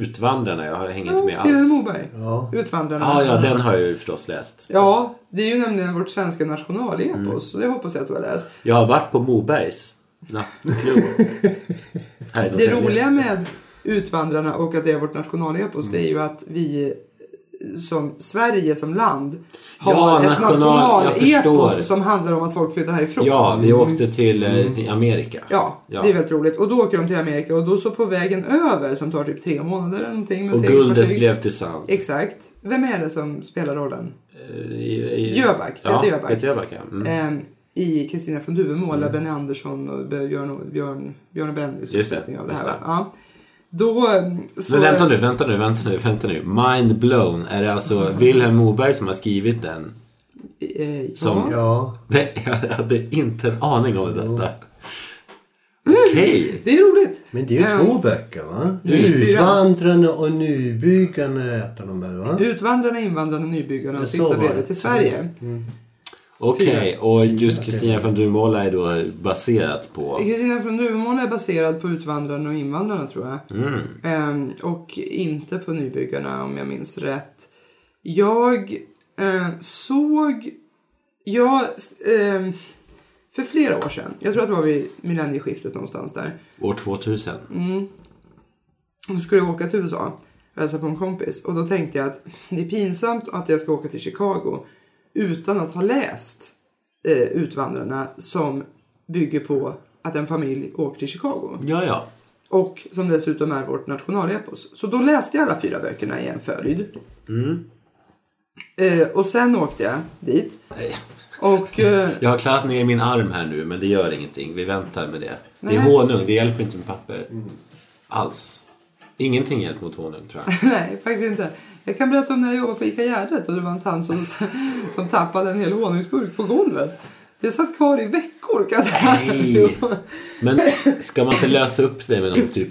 B: Utvandrarna, jag har hängt
C: ja,
B: med
C: Peter
B: alls. Ah,
C: Moberg.
D: Ja.
C: Utvandrarna.
B: Ja, ja, den har jag ju förstås läst.
C: Ja, det är ju nämligen vårt svenska nationalepos. Så det hoppas jag att du har läst.
B: Jag har varit på Mobergs
C: [laughs]
B: nattklubb. Här i
C: Det
B: Norrtälje.
C: roliga med Utvandrarna och att det är vårt nationalepos det är ju att vi eh, som Sverige som land har
B: Ja,
C: ett
B: national- jag förstår.
C: nationalepos som handlar om att folk flyttar härifrån.
B: Ja, vi åkte till,
C: Mm.
B: eh, till Amerika.
C: Ja,
B: Ja.
C: det är väldigt roligt. Och då åker de till Amerika och då så på vägen över som tar typ tre månader eller någonting. Med
B: Och
C: segelfartyg-
B: guldet blev till sand. Eh,
C: Exakt. Vem är det som spelar rollen? Jöback,
B: Jöback.
C: Peter
B: Ja,
C: Jöback.
B: Peter Jöback ja. mm.
C: Ehm, I Kristina från Duvemåla, Benny Andersson och Björn, Björn, Björn och
B: Just
C: Bennys
B: det,
C: uppsättning av det
B: just
C: här. va?
B: det.
C: Ja. Då, ehm, så,
B: Men vänta nu, vänta nu, vänta nu, vänta nu. Mind blown. Är det
C: Mm.
B: alltså Wilhelm Moberg som har skrivit den?
C: Eh, ja.
B: Som-
D: Ja.
B: Nej, [laughs] jag hade inte en aning om detta. Okej.
C: Det är roligt.
D: Men det är ju
C: Ja.
D: två böcker va?
C: Nybyggare.
D: Utvandrarna och Nybyggarna heter de väl va?
C: Utvandrarna, invandrarna, nybyggarna och
D: Ja, så
C: sista
D: var det. Mm.
C: brevet till Sverige.
B: Okej, och just Kristina från Duvemåla är då baserat på...
C: Kristina från Duvemåla är baserad på Utvandrarna och invandrarna tror jag.
D: Mm.
C: Ehm, och inte på Nybyggarna om jag minns rätt. Jag Eh, såg jag eh, för flera år sedan, jag tror att det var vid millennieskiftet någonstans där.
B: År 2000.
C: Mm. Och så skulle jag åka till USA och hälsa på en kompis. Och då tänkte jag att det är pinsamt att jag ska åka till Chicago utan att ha läst eh, Utvandrarna som bygger på att en familj åker till Chicago.
B: Ja, ja.
C: Och som dessutom är vårt nationalepos. Så då läste jag alla fyra böckerna i en följd. Eh, och sen åkte jag dit.
B: Nej.
C: Och eh,
B: Jag har klarat ner min arm här nu, men det gör ingenting. Vi väntar med det. Det är
C: Nej. Mm.
B: honung, det hjälper inte med papper. Alls. Ingenting hjälper mot honung, tror jag.
C: nej, faktiskt inte. Jag kan berätta om när jag jobbade på ICA Gärdet och det var en tant som, [laughs] som tappade en hel honungsburk på golvet. Det satt kvar i veckor kan jag säga.
B: Nej. Men ska man inte lösa upp det med någon typ...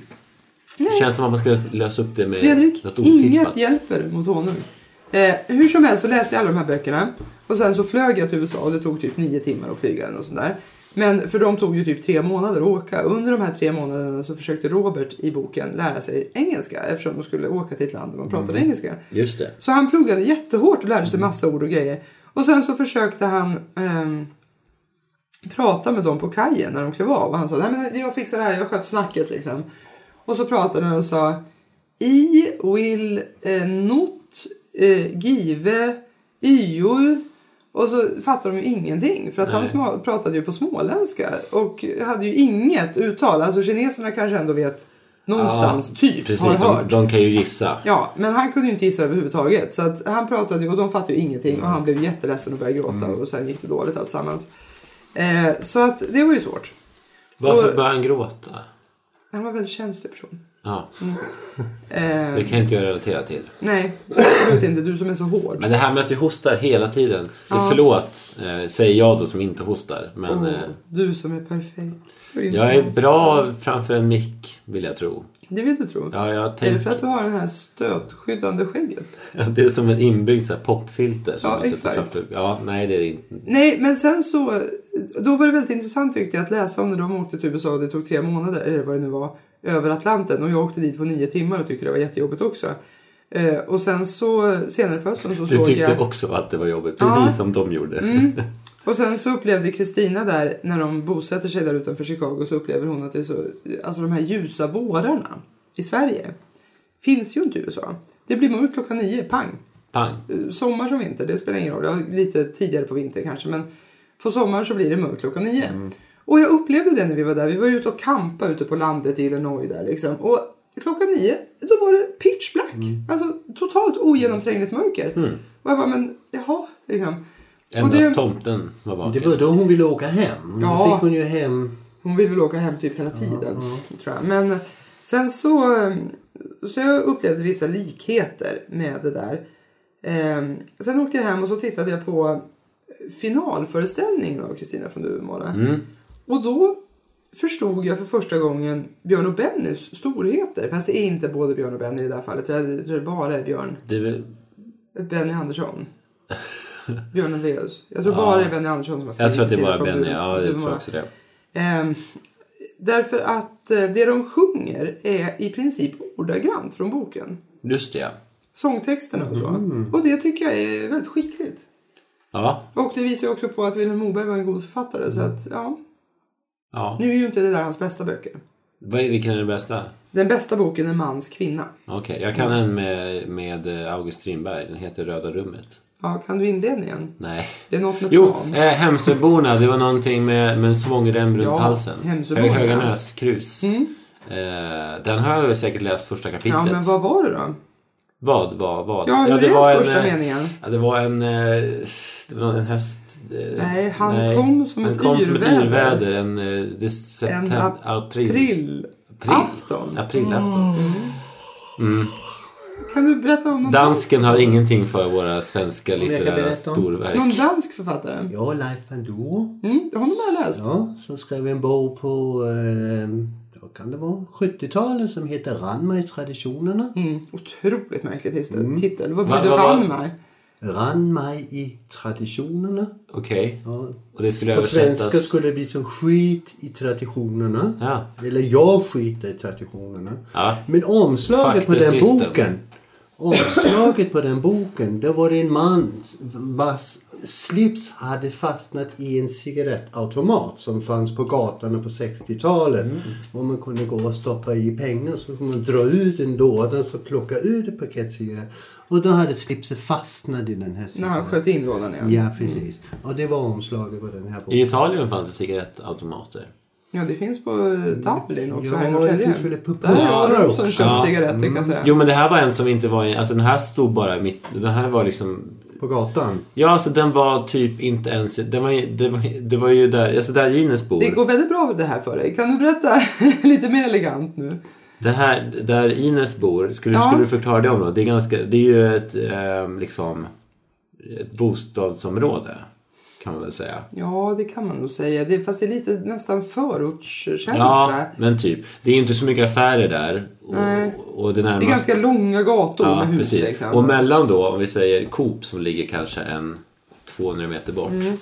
B: Det känns som att man ska lösa upp det med
C: [laughs] Fredrik,
B: något otippat.
C: inget hjälper mot honung. Eh, hur som helst så läste jag alla de här böckerna och sen så flög jag till USA och det tog typ nio timmar att flyga den och sådär. Men för de tog ju typ tre månader att åka. Under de här tre månaderna så försökte Robert i boken lära sig engelska eftersom de skulle åka till ett land där man pratade
B: Mm.
C: engelska.
B: Just det.
C: Så han pluggade jättehårt och lärde sig massa ord och grejer. Och sen så försökte han ehm, prata med dem på kajen när de klev av. Och han sa, nej men jag fixar det här, jag sköt snacket liksom. Och så pratade han och sa, I will eh, not eh, give you. Och så fattade de ju ingenting för att han
B: Nej.
C: sma- pratade ju på småländska och hade ju inget uttal. Alltså kineserna kanske ändå vet någonstans, typ, har
B: Precis,
C: hört.
B: de, de kan ju gissa.
C: Ja, men han kunde ju inte gissa överhuvudtaget. Så att han pratade ju och de fattade ju ingenting och han blev jätteledsen och började gråta
B: Mm.
C: och sen gick det dåligt alltsammans. Eh, så att det var ju svårt.
B: Varför
C: Och-
B: börjar han gråta?
C: Han var en väldigt känslig person.
B: Ja,
C: Eh,
B: det kan inte jag relatera till.
C: nej, absolut inte. Du som är så hård.
B: Men det här med att vi hostar hela tiden. Förlåt, eh, säger jag då som inte hostar. Men eh,
C: Åh, du som är perfekt. Och inte
B: jag är
C: ens-
B: bra framför en mick, vill jag tro.
C: Det vill du tro.
B: Ja, jag
C: Är det
B: tänker...
C: för att du har det här stötskyddande skägget?
B: [laughs] Det är som en inbyggd så här popfilter som
C: Ja,
B: man sätter
C: exakt.
B: framför. Ja, nej det är det inte.
C: Nej, men sen så... Då var det väldigt intressant tyckte jag att läsa om när de åkte till USA och det tog tre månader, eller vad det nu var, över Atlanten. Och jag åkte dit på nio timmar och tyckte det var jättejobbigt också. Eh, och sen så senare på hösten så
B: Du
C: såg
B: tyckte
C: jag...
B: också att det var jobbigt, precis
C: Ja. Mm.
B: som de gjorde.
C: Och sen så upplevde Kristina där, när de bosätter sig där utanför Chicago, så upplever hon att det är så... Alltså de här ljusa vårarna i Sverige finns ju inte i USA. Det blir mörkt klockan nio, pang.
B: Pang.
C: sommar som vinter, det spelar ingen roll. Ja, lite tidigare på vinter kanske, men på sommaren så blir det mörkt klockan nio. Och jag upplevde det när vi var där. Vi var ute och kampa ute på landet i Illinois där liksom. Och klockan nio, då var det pitch black. Alltså totalt ogenomträngligt mörker. Och jag bara, men jaha, liksom. Och
B: Endast
C: det,
B: tomten var vaken.
D: Det var då hon ville åka hem.
C: Ja.
D: Då fick hon ju hem.
C: hon vill väl åka hem typ hela tiden, tror jag. Men sen så, eh, så jag upplevde vissa likheter med det där. Eh, sen åkte jag hem och så tittade jag på finalföreställningen av Kristina från Duvemåla.
B: Mm.
C: Och då förstod jag för första gången Björn och Bennys storheter. Fast det är inte både Björn och Benny i det här fallet. Jag tror det bara är Björn.
B: Det var...
C: Benny
B: [laughs]
C: Andersson. Björn Ulvaeus. Jag tror bara det är Benny Andersson som har skrivit
B: Jag tror att det var
C: Kristina från
B: Benny.
C: Duve-
B: Ja, jag tror
C: Duvemåla.
B: också det.
C: Ehm, därför att eh, det de sjunger är i princip ordagrant från boken.
B: Just det, ja.
C: Sångtexterna och så. Och det tycker jag är väldigt skickligt.
B: Ja,
C: Och det visar ju också på att Vilhelm Moberg var en god författare. Så att, ja.
B: ja.
C: Nu är ju inte det där hans bästa böcker.
B: Vad är- Vilken är den bästa?
C: Den bästa boken är Mans kvinna.
B: Okej, jag kan en med, med eh, August Strindberg. Den heter Röda rummet.
C: Ja, kan du inledningen?
B: Nej.
C: Det är något med
B: Jo,
C: plan.
B: eh, Hemsöborna. Det var någonting med, med en svångrem runt
C: Ja,
B: halsen.
C: Hemsöborna. Mm.
B: Hö- Höganäs krus. Eh, den har jag säkert läst första kapitlet.
C: Ja, men vad var det då?
B: Vad var vad?
C: Ja, hur är första
B: eh,
C: meningen?
B: Ja, det var en... eh, Det var en höst... eh,
C: Nej, han kom som
B: han
C: ett
B: kom som ett
C: yrväder.
B: yrväder. En, eh, det är
C: En
B: september,
C: ap-
B: april.
C: aprilafton.
B: Aprilafton.
C: Mm. Kan du berätta om någon
B: Dansken har ingenting för våra svenska
D: jag kan
B: litterära
D: berätta om-
B: storverk.
C: Någon dansk författare?
D: Ja, Leif Panduro.
C: Mm, honom har jag läst.
D: Ja, som skrev en bok på eh, vad kan det vara, 70-talet som heter Ranma i traditionerna.
C: Mm, otroligt märklig titel. titel. Vad
B: Mm. Va-
C: betyder
B: va- va-
C: Ranmai? Mm.
D: Ranma i traditionerna.
B: Okej.
D: Ja,
B: Och det skulle
D: På
B: översättas...
D: svenska skulle det bli som skit i traditionerna.
B: Ja.
D: Eller jag skiter i traditionerna.
B: Ja.
D: Men
B: Fuck
D: omslaget på
B: the
D: den
B: system.
D: boken Omslaget på den boken, det var en man vars slips hade fastnat i en cigarettautomat som fanns på gatan på 60-talet.
B: Mm.
D: Och man kunde gå och stoppa i pengar så kunde man dra ut en låda och så plocka ut ett paket cigaretter. Och då hade slipset fastnat i den här
C: När han sköt in lådan ja.
D: Ja, precis. Och det var omslaget på den här boken.
B: I Italien fanns det cigarettautomater.
C: Ja, det finns på eh, Dublin också här i
D: Ja, det
C: Norrtälje.
D: finns väl ett
C: Där har de
D: Purple
C: som
D: också. Mm.
C: köpt
B: Ja.
C: cigaretter kan jag säga.
B: Jo men det här var en som inte var i, alltså den här stod bara mitt, den här var liksom
D: På gatan.
B: Ja alltså den var typ inte ens, den var, ju- det, var, det var ju där, alltså där Gines bor.
C: Det går väldigt bra det här för dig. Kan du berätta [laughs] lite mer elegant nu?
B: Det här, där Ines bor, skulle,
C: Ja.
B: skulle du förklara det området? Det är, ganska, det är ju ett, eh, liksom, ett bostadsområde kan man väl säga.
C: Ja, det kan man nog säga. Det, fast det är lite nästan förortskänsla.
B: Ja, men typ. Det är ju inte så mycket affärer där.
C: Nej.
B: Och, och det
C: det är
B: närmaste...
C: ganska långa gator
B: ja,
C: med hus.
B: precis.
C: Liksom.
B: Och mellan då, om vi säger Coop som ligger kanske en 200 meter bort
C: Mm.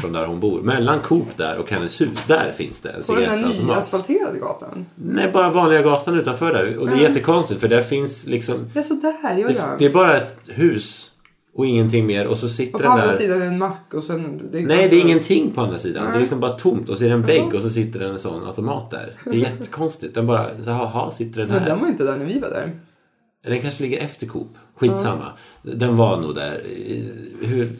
B: från där hon bor. Mellan Coop där och hennes hus, där finns det en
C: på den här
B: cigarettautomat.
C: nyasfalterade gatan.
B: Nej, bara vanliga gatan utanför där. Och det är jättekonstigt för där finns liksom...
C: Ja, så där gör
B: Det,
C: jag.
B: det är bara ett hus och ingenting mer och så
C: och
B: sitter
C: på
B: den
C: andra
B: där...
C: sidan är en mack och sen...
B: Nej, det
C: alltså-
B: är ingenting på andra sidan. Det
C: Nej.
B: är liksom bara tomt och så är det en vägg och så sitter det en sån automat där. Det är jättekonstigt. Den bara, så, jaha, sitter den
C: Men
B: här?
C: den var inte där när vi var där.
B: Den kanske ligger efter Coop. Skitsamma. Den var nog där. Eh, Hur...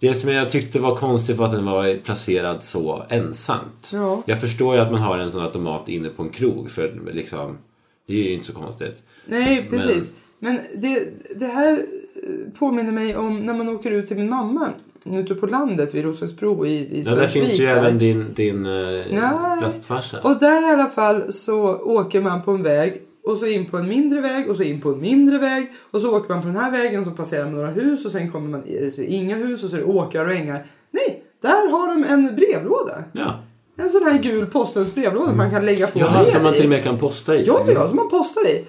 B: Det som jag tyckte var konstigt var att den var placerad så ensamt.
C: Ja.
B: Jag förstår ju att man har en sån automat inne på en krog för liksom, det är ju inte så konstigt.
C: Nej, precis. Men, det, det här eh, påminner mig om när man åker ut till min mamma ute på landet vid Roslagsbro i, i
B: Ja, där finns ju
C: där.
B: även din, din eh,
C: Nej.
B: plastfarsa.
C: Och där i alla fall så åker man på en väg och så in på en mindre väg och så in på en mindre väg och så åker man på den här vägen så passerar man några hus och sen kommer man i så är det inga hus och så är det åkrar och ängar. Nej, där har de en brevlåda.
B: Ja.
C: En sån här gul postens brevlåda man kan lägga på
B: Ja,
C: brev
B: som man
C: i.
B: till och med kan posta i.
C: Ja, så ja, som man postar i.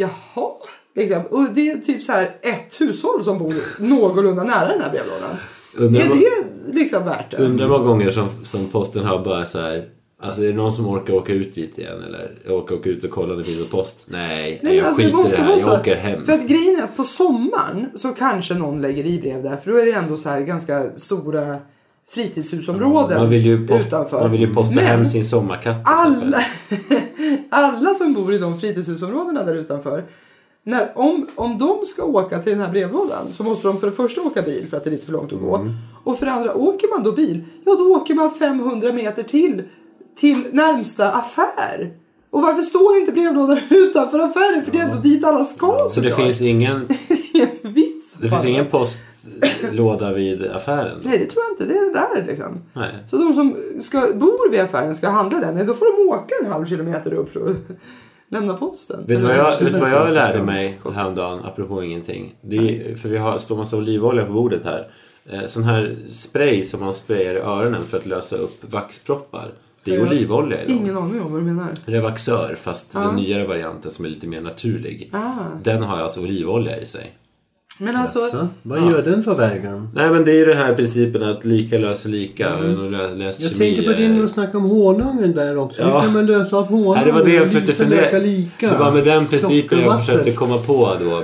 C: Jaha. Liksom. Och det är typ så här ett hushåll som bor någorlunda nära den här brevlådan.
B: Undrar
C: är
B: vad-
C: det liksom värt det?
B: Undrar hur många gånger som, som posten har bara så här. Alltså är det någon som orkar åka ut dit igen eller orkar åka ut och kolla om det finns någon post? Nej,
C: Nej,
B: nej jag
C: men alltså,
B: skiter i
C: det måste
B: det här.
C: vara så
B: Jag åker hem.
C: För att grejen är att på sommaren så kanske någon lägger i brev där. För då är det ändå så här ganska stora fritidshusområden
B: Man vill ju, post,
C: utanför.
B: man vill ju posta
C: Men
B: hem sin sommarkatt till exempel.
C: alla, [laughs] alla som bor i de fritidshusområdena där utanför. När, om, om de ska åka till den här brevlådan så måste de för det första åka bil för att det är lite för långt att gå.
B: Mm.
C: Och för det andra, åker man då bil, ja då åker man 500 meter till, till närmsta affär. Och varför står inte brevlådan [laughs] utanför affären? För det är ändå dit alla ska
B: Så det
C: såklart.
B: finns ingen,
C: [laughs] Det är en vits.
B: det finns ingen postlåda vid affären?
C: Nej, det tror jag inte. Det är det där liksom.
B: Nej.
C: Så de som ska, bor vid affären ska handla den, nej, då får de åka en halv kilometer upp för att lämna posten.
B: Vet du vad jag, vet du vad jag
D: Absolut.
B: lärde mig häromdagen, apropå ingenting? Det är, för vi har, står massa olivolja på bordet här. Eh, Sån här spray som man sprayar i öronen för att lösa upp vaxproppar. Det är
C: Så jag-
B: olivolja i dem.
C: Ingen aning om vad du menar.
B: Revaxör, fast den nyare varianten som är lite mer naturlig.
C: Ah.
B: Den har alltså olivolja i sig.
C: Men alltså,
D: Så, vad gör den för vägen?
B: Nej men det är ju den här principen att lika löser lika. Mm. Lö, lös
D: Jag
B: kemi,
D: tänkte på din
B: eh,
D: och snacka om honungen där också.
B: Ja.
D: Hur kan man lösa upp honungen?
B: Nej, det var det jag
D: Visa
B: försökte
D: läka
B: fundera.
D: lika.
B: Det var med den principen jag
D: Sockervatten.
B: försökte komma på då.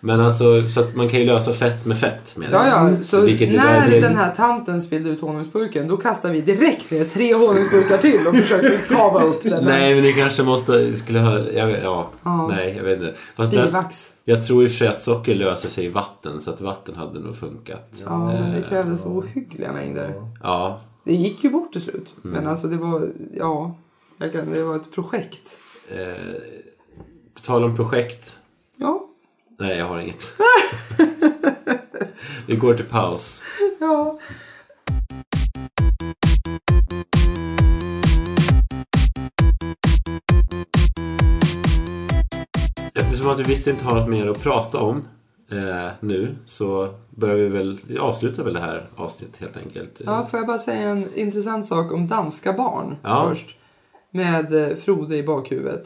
B: Men alltså, så att man kan ju lösa fett med fett. Med
C: ja, ja, så
B: Mm. Vilket typ- är
C: när
B: det-
C: den här tanten spillde ut honungsburken då kastar vi direkt ner tre honungsburkar till och försöker kava upp den. här.
B: Nej, men ni kanske måste, skulle ha, jag vet, ja,
C: Ja.
B: nej, jag vet inte. Fast där,
C: Bivax.
B: jag tror i och för sig att socker löser sig i vatten, så att vatten hade nog funkat.
C: Ja, men det krävdes ohyggliga mängder.
B: Ja,
C: Det gick ju bort till slut.
B: Mm.
C: Men alltså det var, ja, jag kan, det var ett projekt.
B: Eh, på tal om projekt.
C: Ja,
B: Nej, jag har
C: [laughs]
B: inget. Vi går till paus.
C: ja.
B: Eftersom att vi visst inte har något mer att prata om eh, nu så börjar vi väl, vi avslutar väl det här avsnittet helt enkelt.
C: Ja, får jag bara säga en intressant sak om danska barn
B: Mm. Ja.
C: först. Med eh, Frode i bakhuvudet.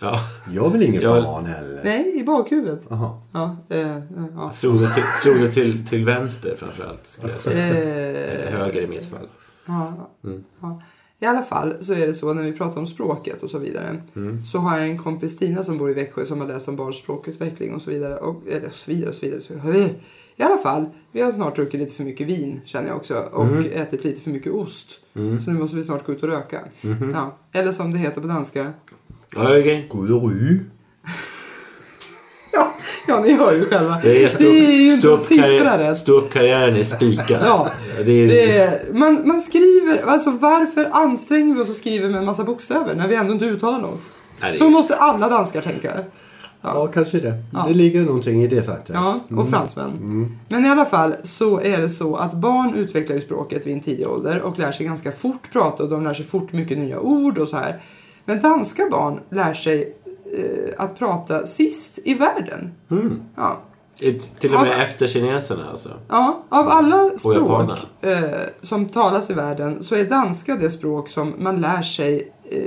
B: Ja.
D: Jag vill inget
B: Jag-
D: barn heller.
C: Nej, i bakhuvudet.
D: Jaha.
C: Ja, eh, eh,
B: [laughs]
C: ja.
B: Frode, till, Frode till, till vänster framförallt skulle jag säga.
C: Eh,
B: Eller höger i mitt fall.
C: ja, ja. I alla fall så är det så när vi pratar om språket och så vidare. Så har jag en kompis Stina som bor i Växjö som har läst om barns språkutveckling och så vidare. Och, eller så vidare och så vidare. och Så vidare. I alla fall, vi har snart druckit lite för mycket vin känner jag också. Och ätit lite för mycket ost. Så nu måste vi snart gå ut och röka. Ja. Eller som det heter på danska.
B: Okej. Okay.
D: Godru.
C: Ja, ja ni hör ju själva.
B: Det är, stå,
C: ju inte
B: stå,
C: en
B: upp
C: siffra
B: karriär,
C: rätt.
B: stå upp karriären är spikad.
C: Ja,
B: det är,
C: Det är, man, man skriver, alltså varför anstränger vi oss och skriver med en massa bokstäver när vi ändå inte uttalar något?
B: Nej, det är-
C: Så måste alla danskar tänka.
D: Ja, kanske det. Det ligger någonting i det faktiskt.
C: Ja,
B: Mm.
C: och fransmän. Men i alla fall så är det så att barn utvecklar ju språket vid en tidig ålder och lär sig ganska fort prata och de lär sig fort mycket nya ord och så här. Men danska barn lär sig eh, att prata sist i världen.
B: Mm.
C: Ja.
B: Ett- Till och med
C: Ja.
B: efter kineserna alltså.
C: Ja, av alla språk
B: japanerna.
C: eh, som talas i världen så är danska det språk som man lär sig eh,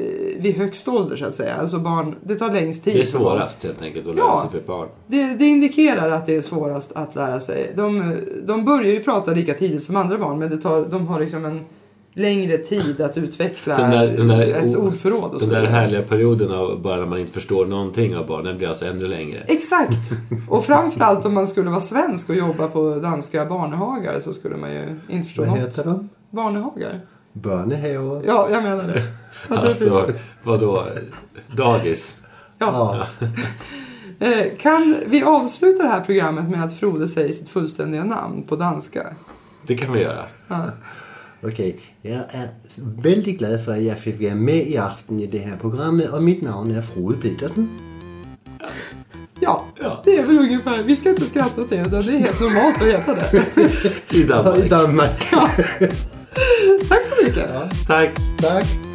C: vid högst ålder så att säga. Alltså barn, det tar längst tid.
B: Det är
C: för barn.
B: svårast helt enkelt att lära
C: Ja.
B: sig för ett barn.
C: Det, det indikerar att det är svårast att lära sig. De, de börjar ju prata lika tidigt som andra barn men det tar, de har liksom en längre tid att utveckla
B: Den där- den där-
C: ett ordförråd och så
B: Den där
C: vidare.
B: härliga perioden av bara när man inte förstår någonting av barn, den blir alltså ännu längre.
C: Exakt! Och framförallt om man skulle vara svensk och jobba på danska barnehagar så skulle man ju inte förstå
D: Vad
C: något.
D: heter de?
C: Barnehagar?
D: Bönehår.
C: Ja, jag menar det. Att det finns-
B: Alltså, vadå? Dagis?
C: ja.
D: Ja.
C: Eh, Kan vi avsluta det här programmet med att Frode säger sitt fullständiga namn på danska?
B: Det kan vi göra.
D: Okej, jag är väldigt glad för att jag fick vara med i aften i det här programmet och mitt namn är Frode Petersen.
C: Ja,
B: Ja.
C: det är väl ungefär. Vi ska inte skratta åt det, utan det är helt normalt att heta det.
B: I
D: I
B: Danmark.
D: Danmark.
C: Tack så mycket!
B: Tack!
D: Tack.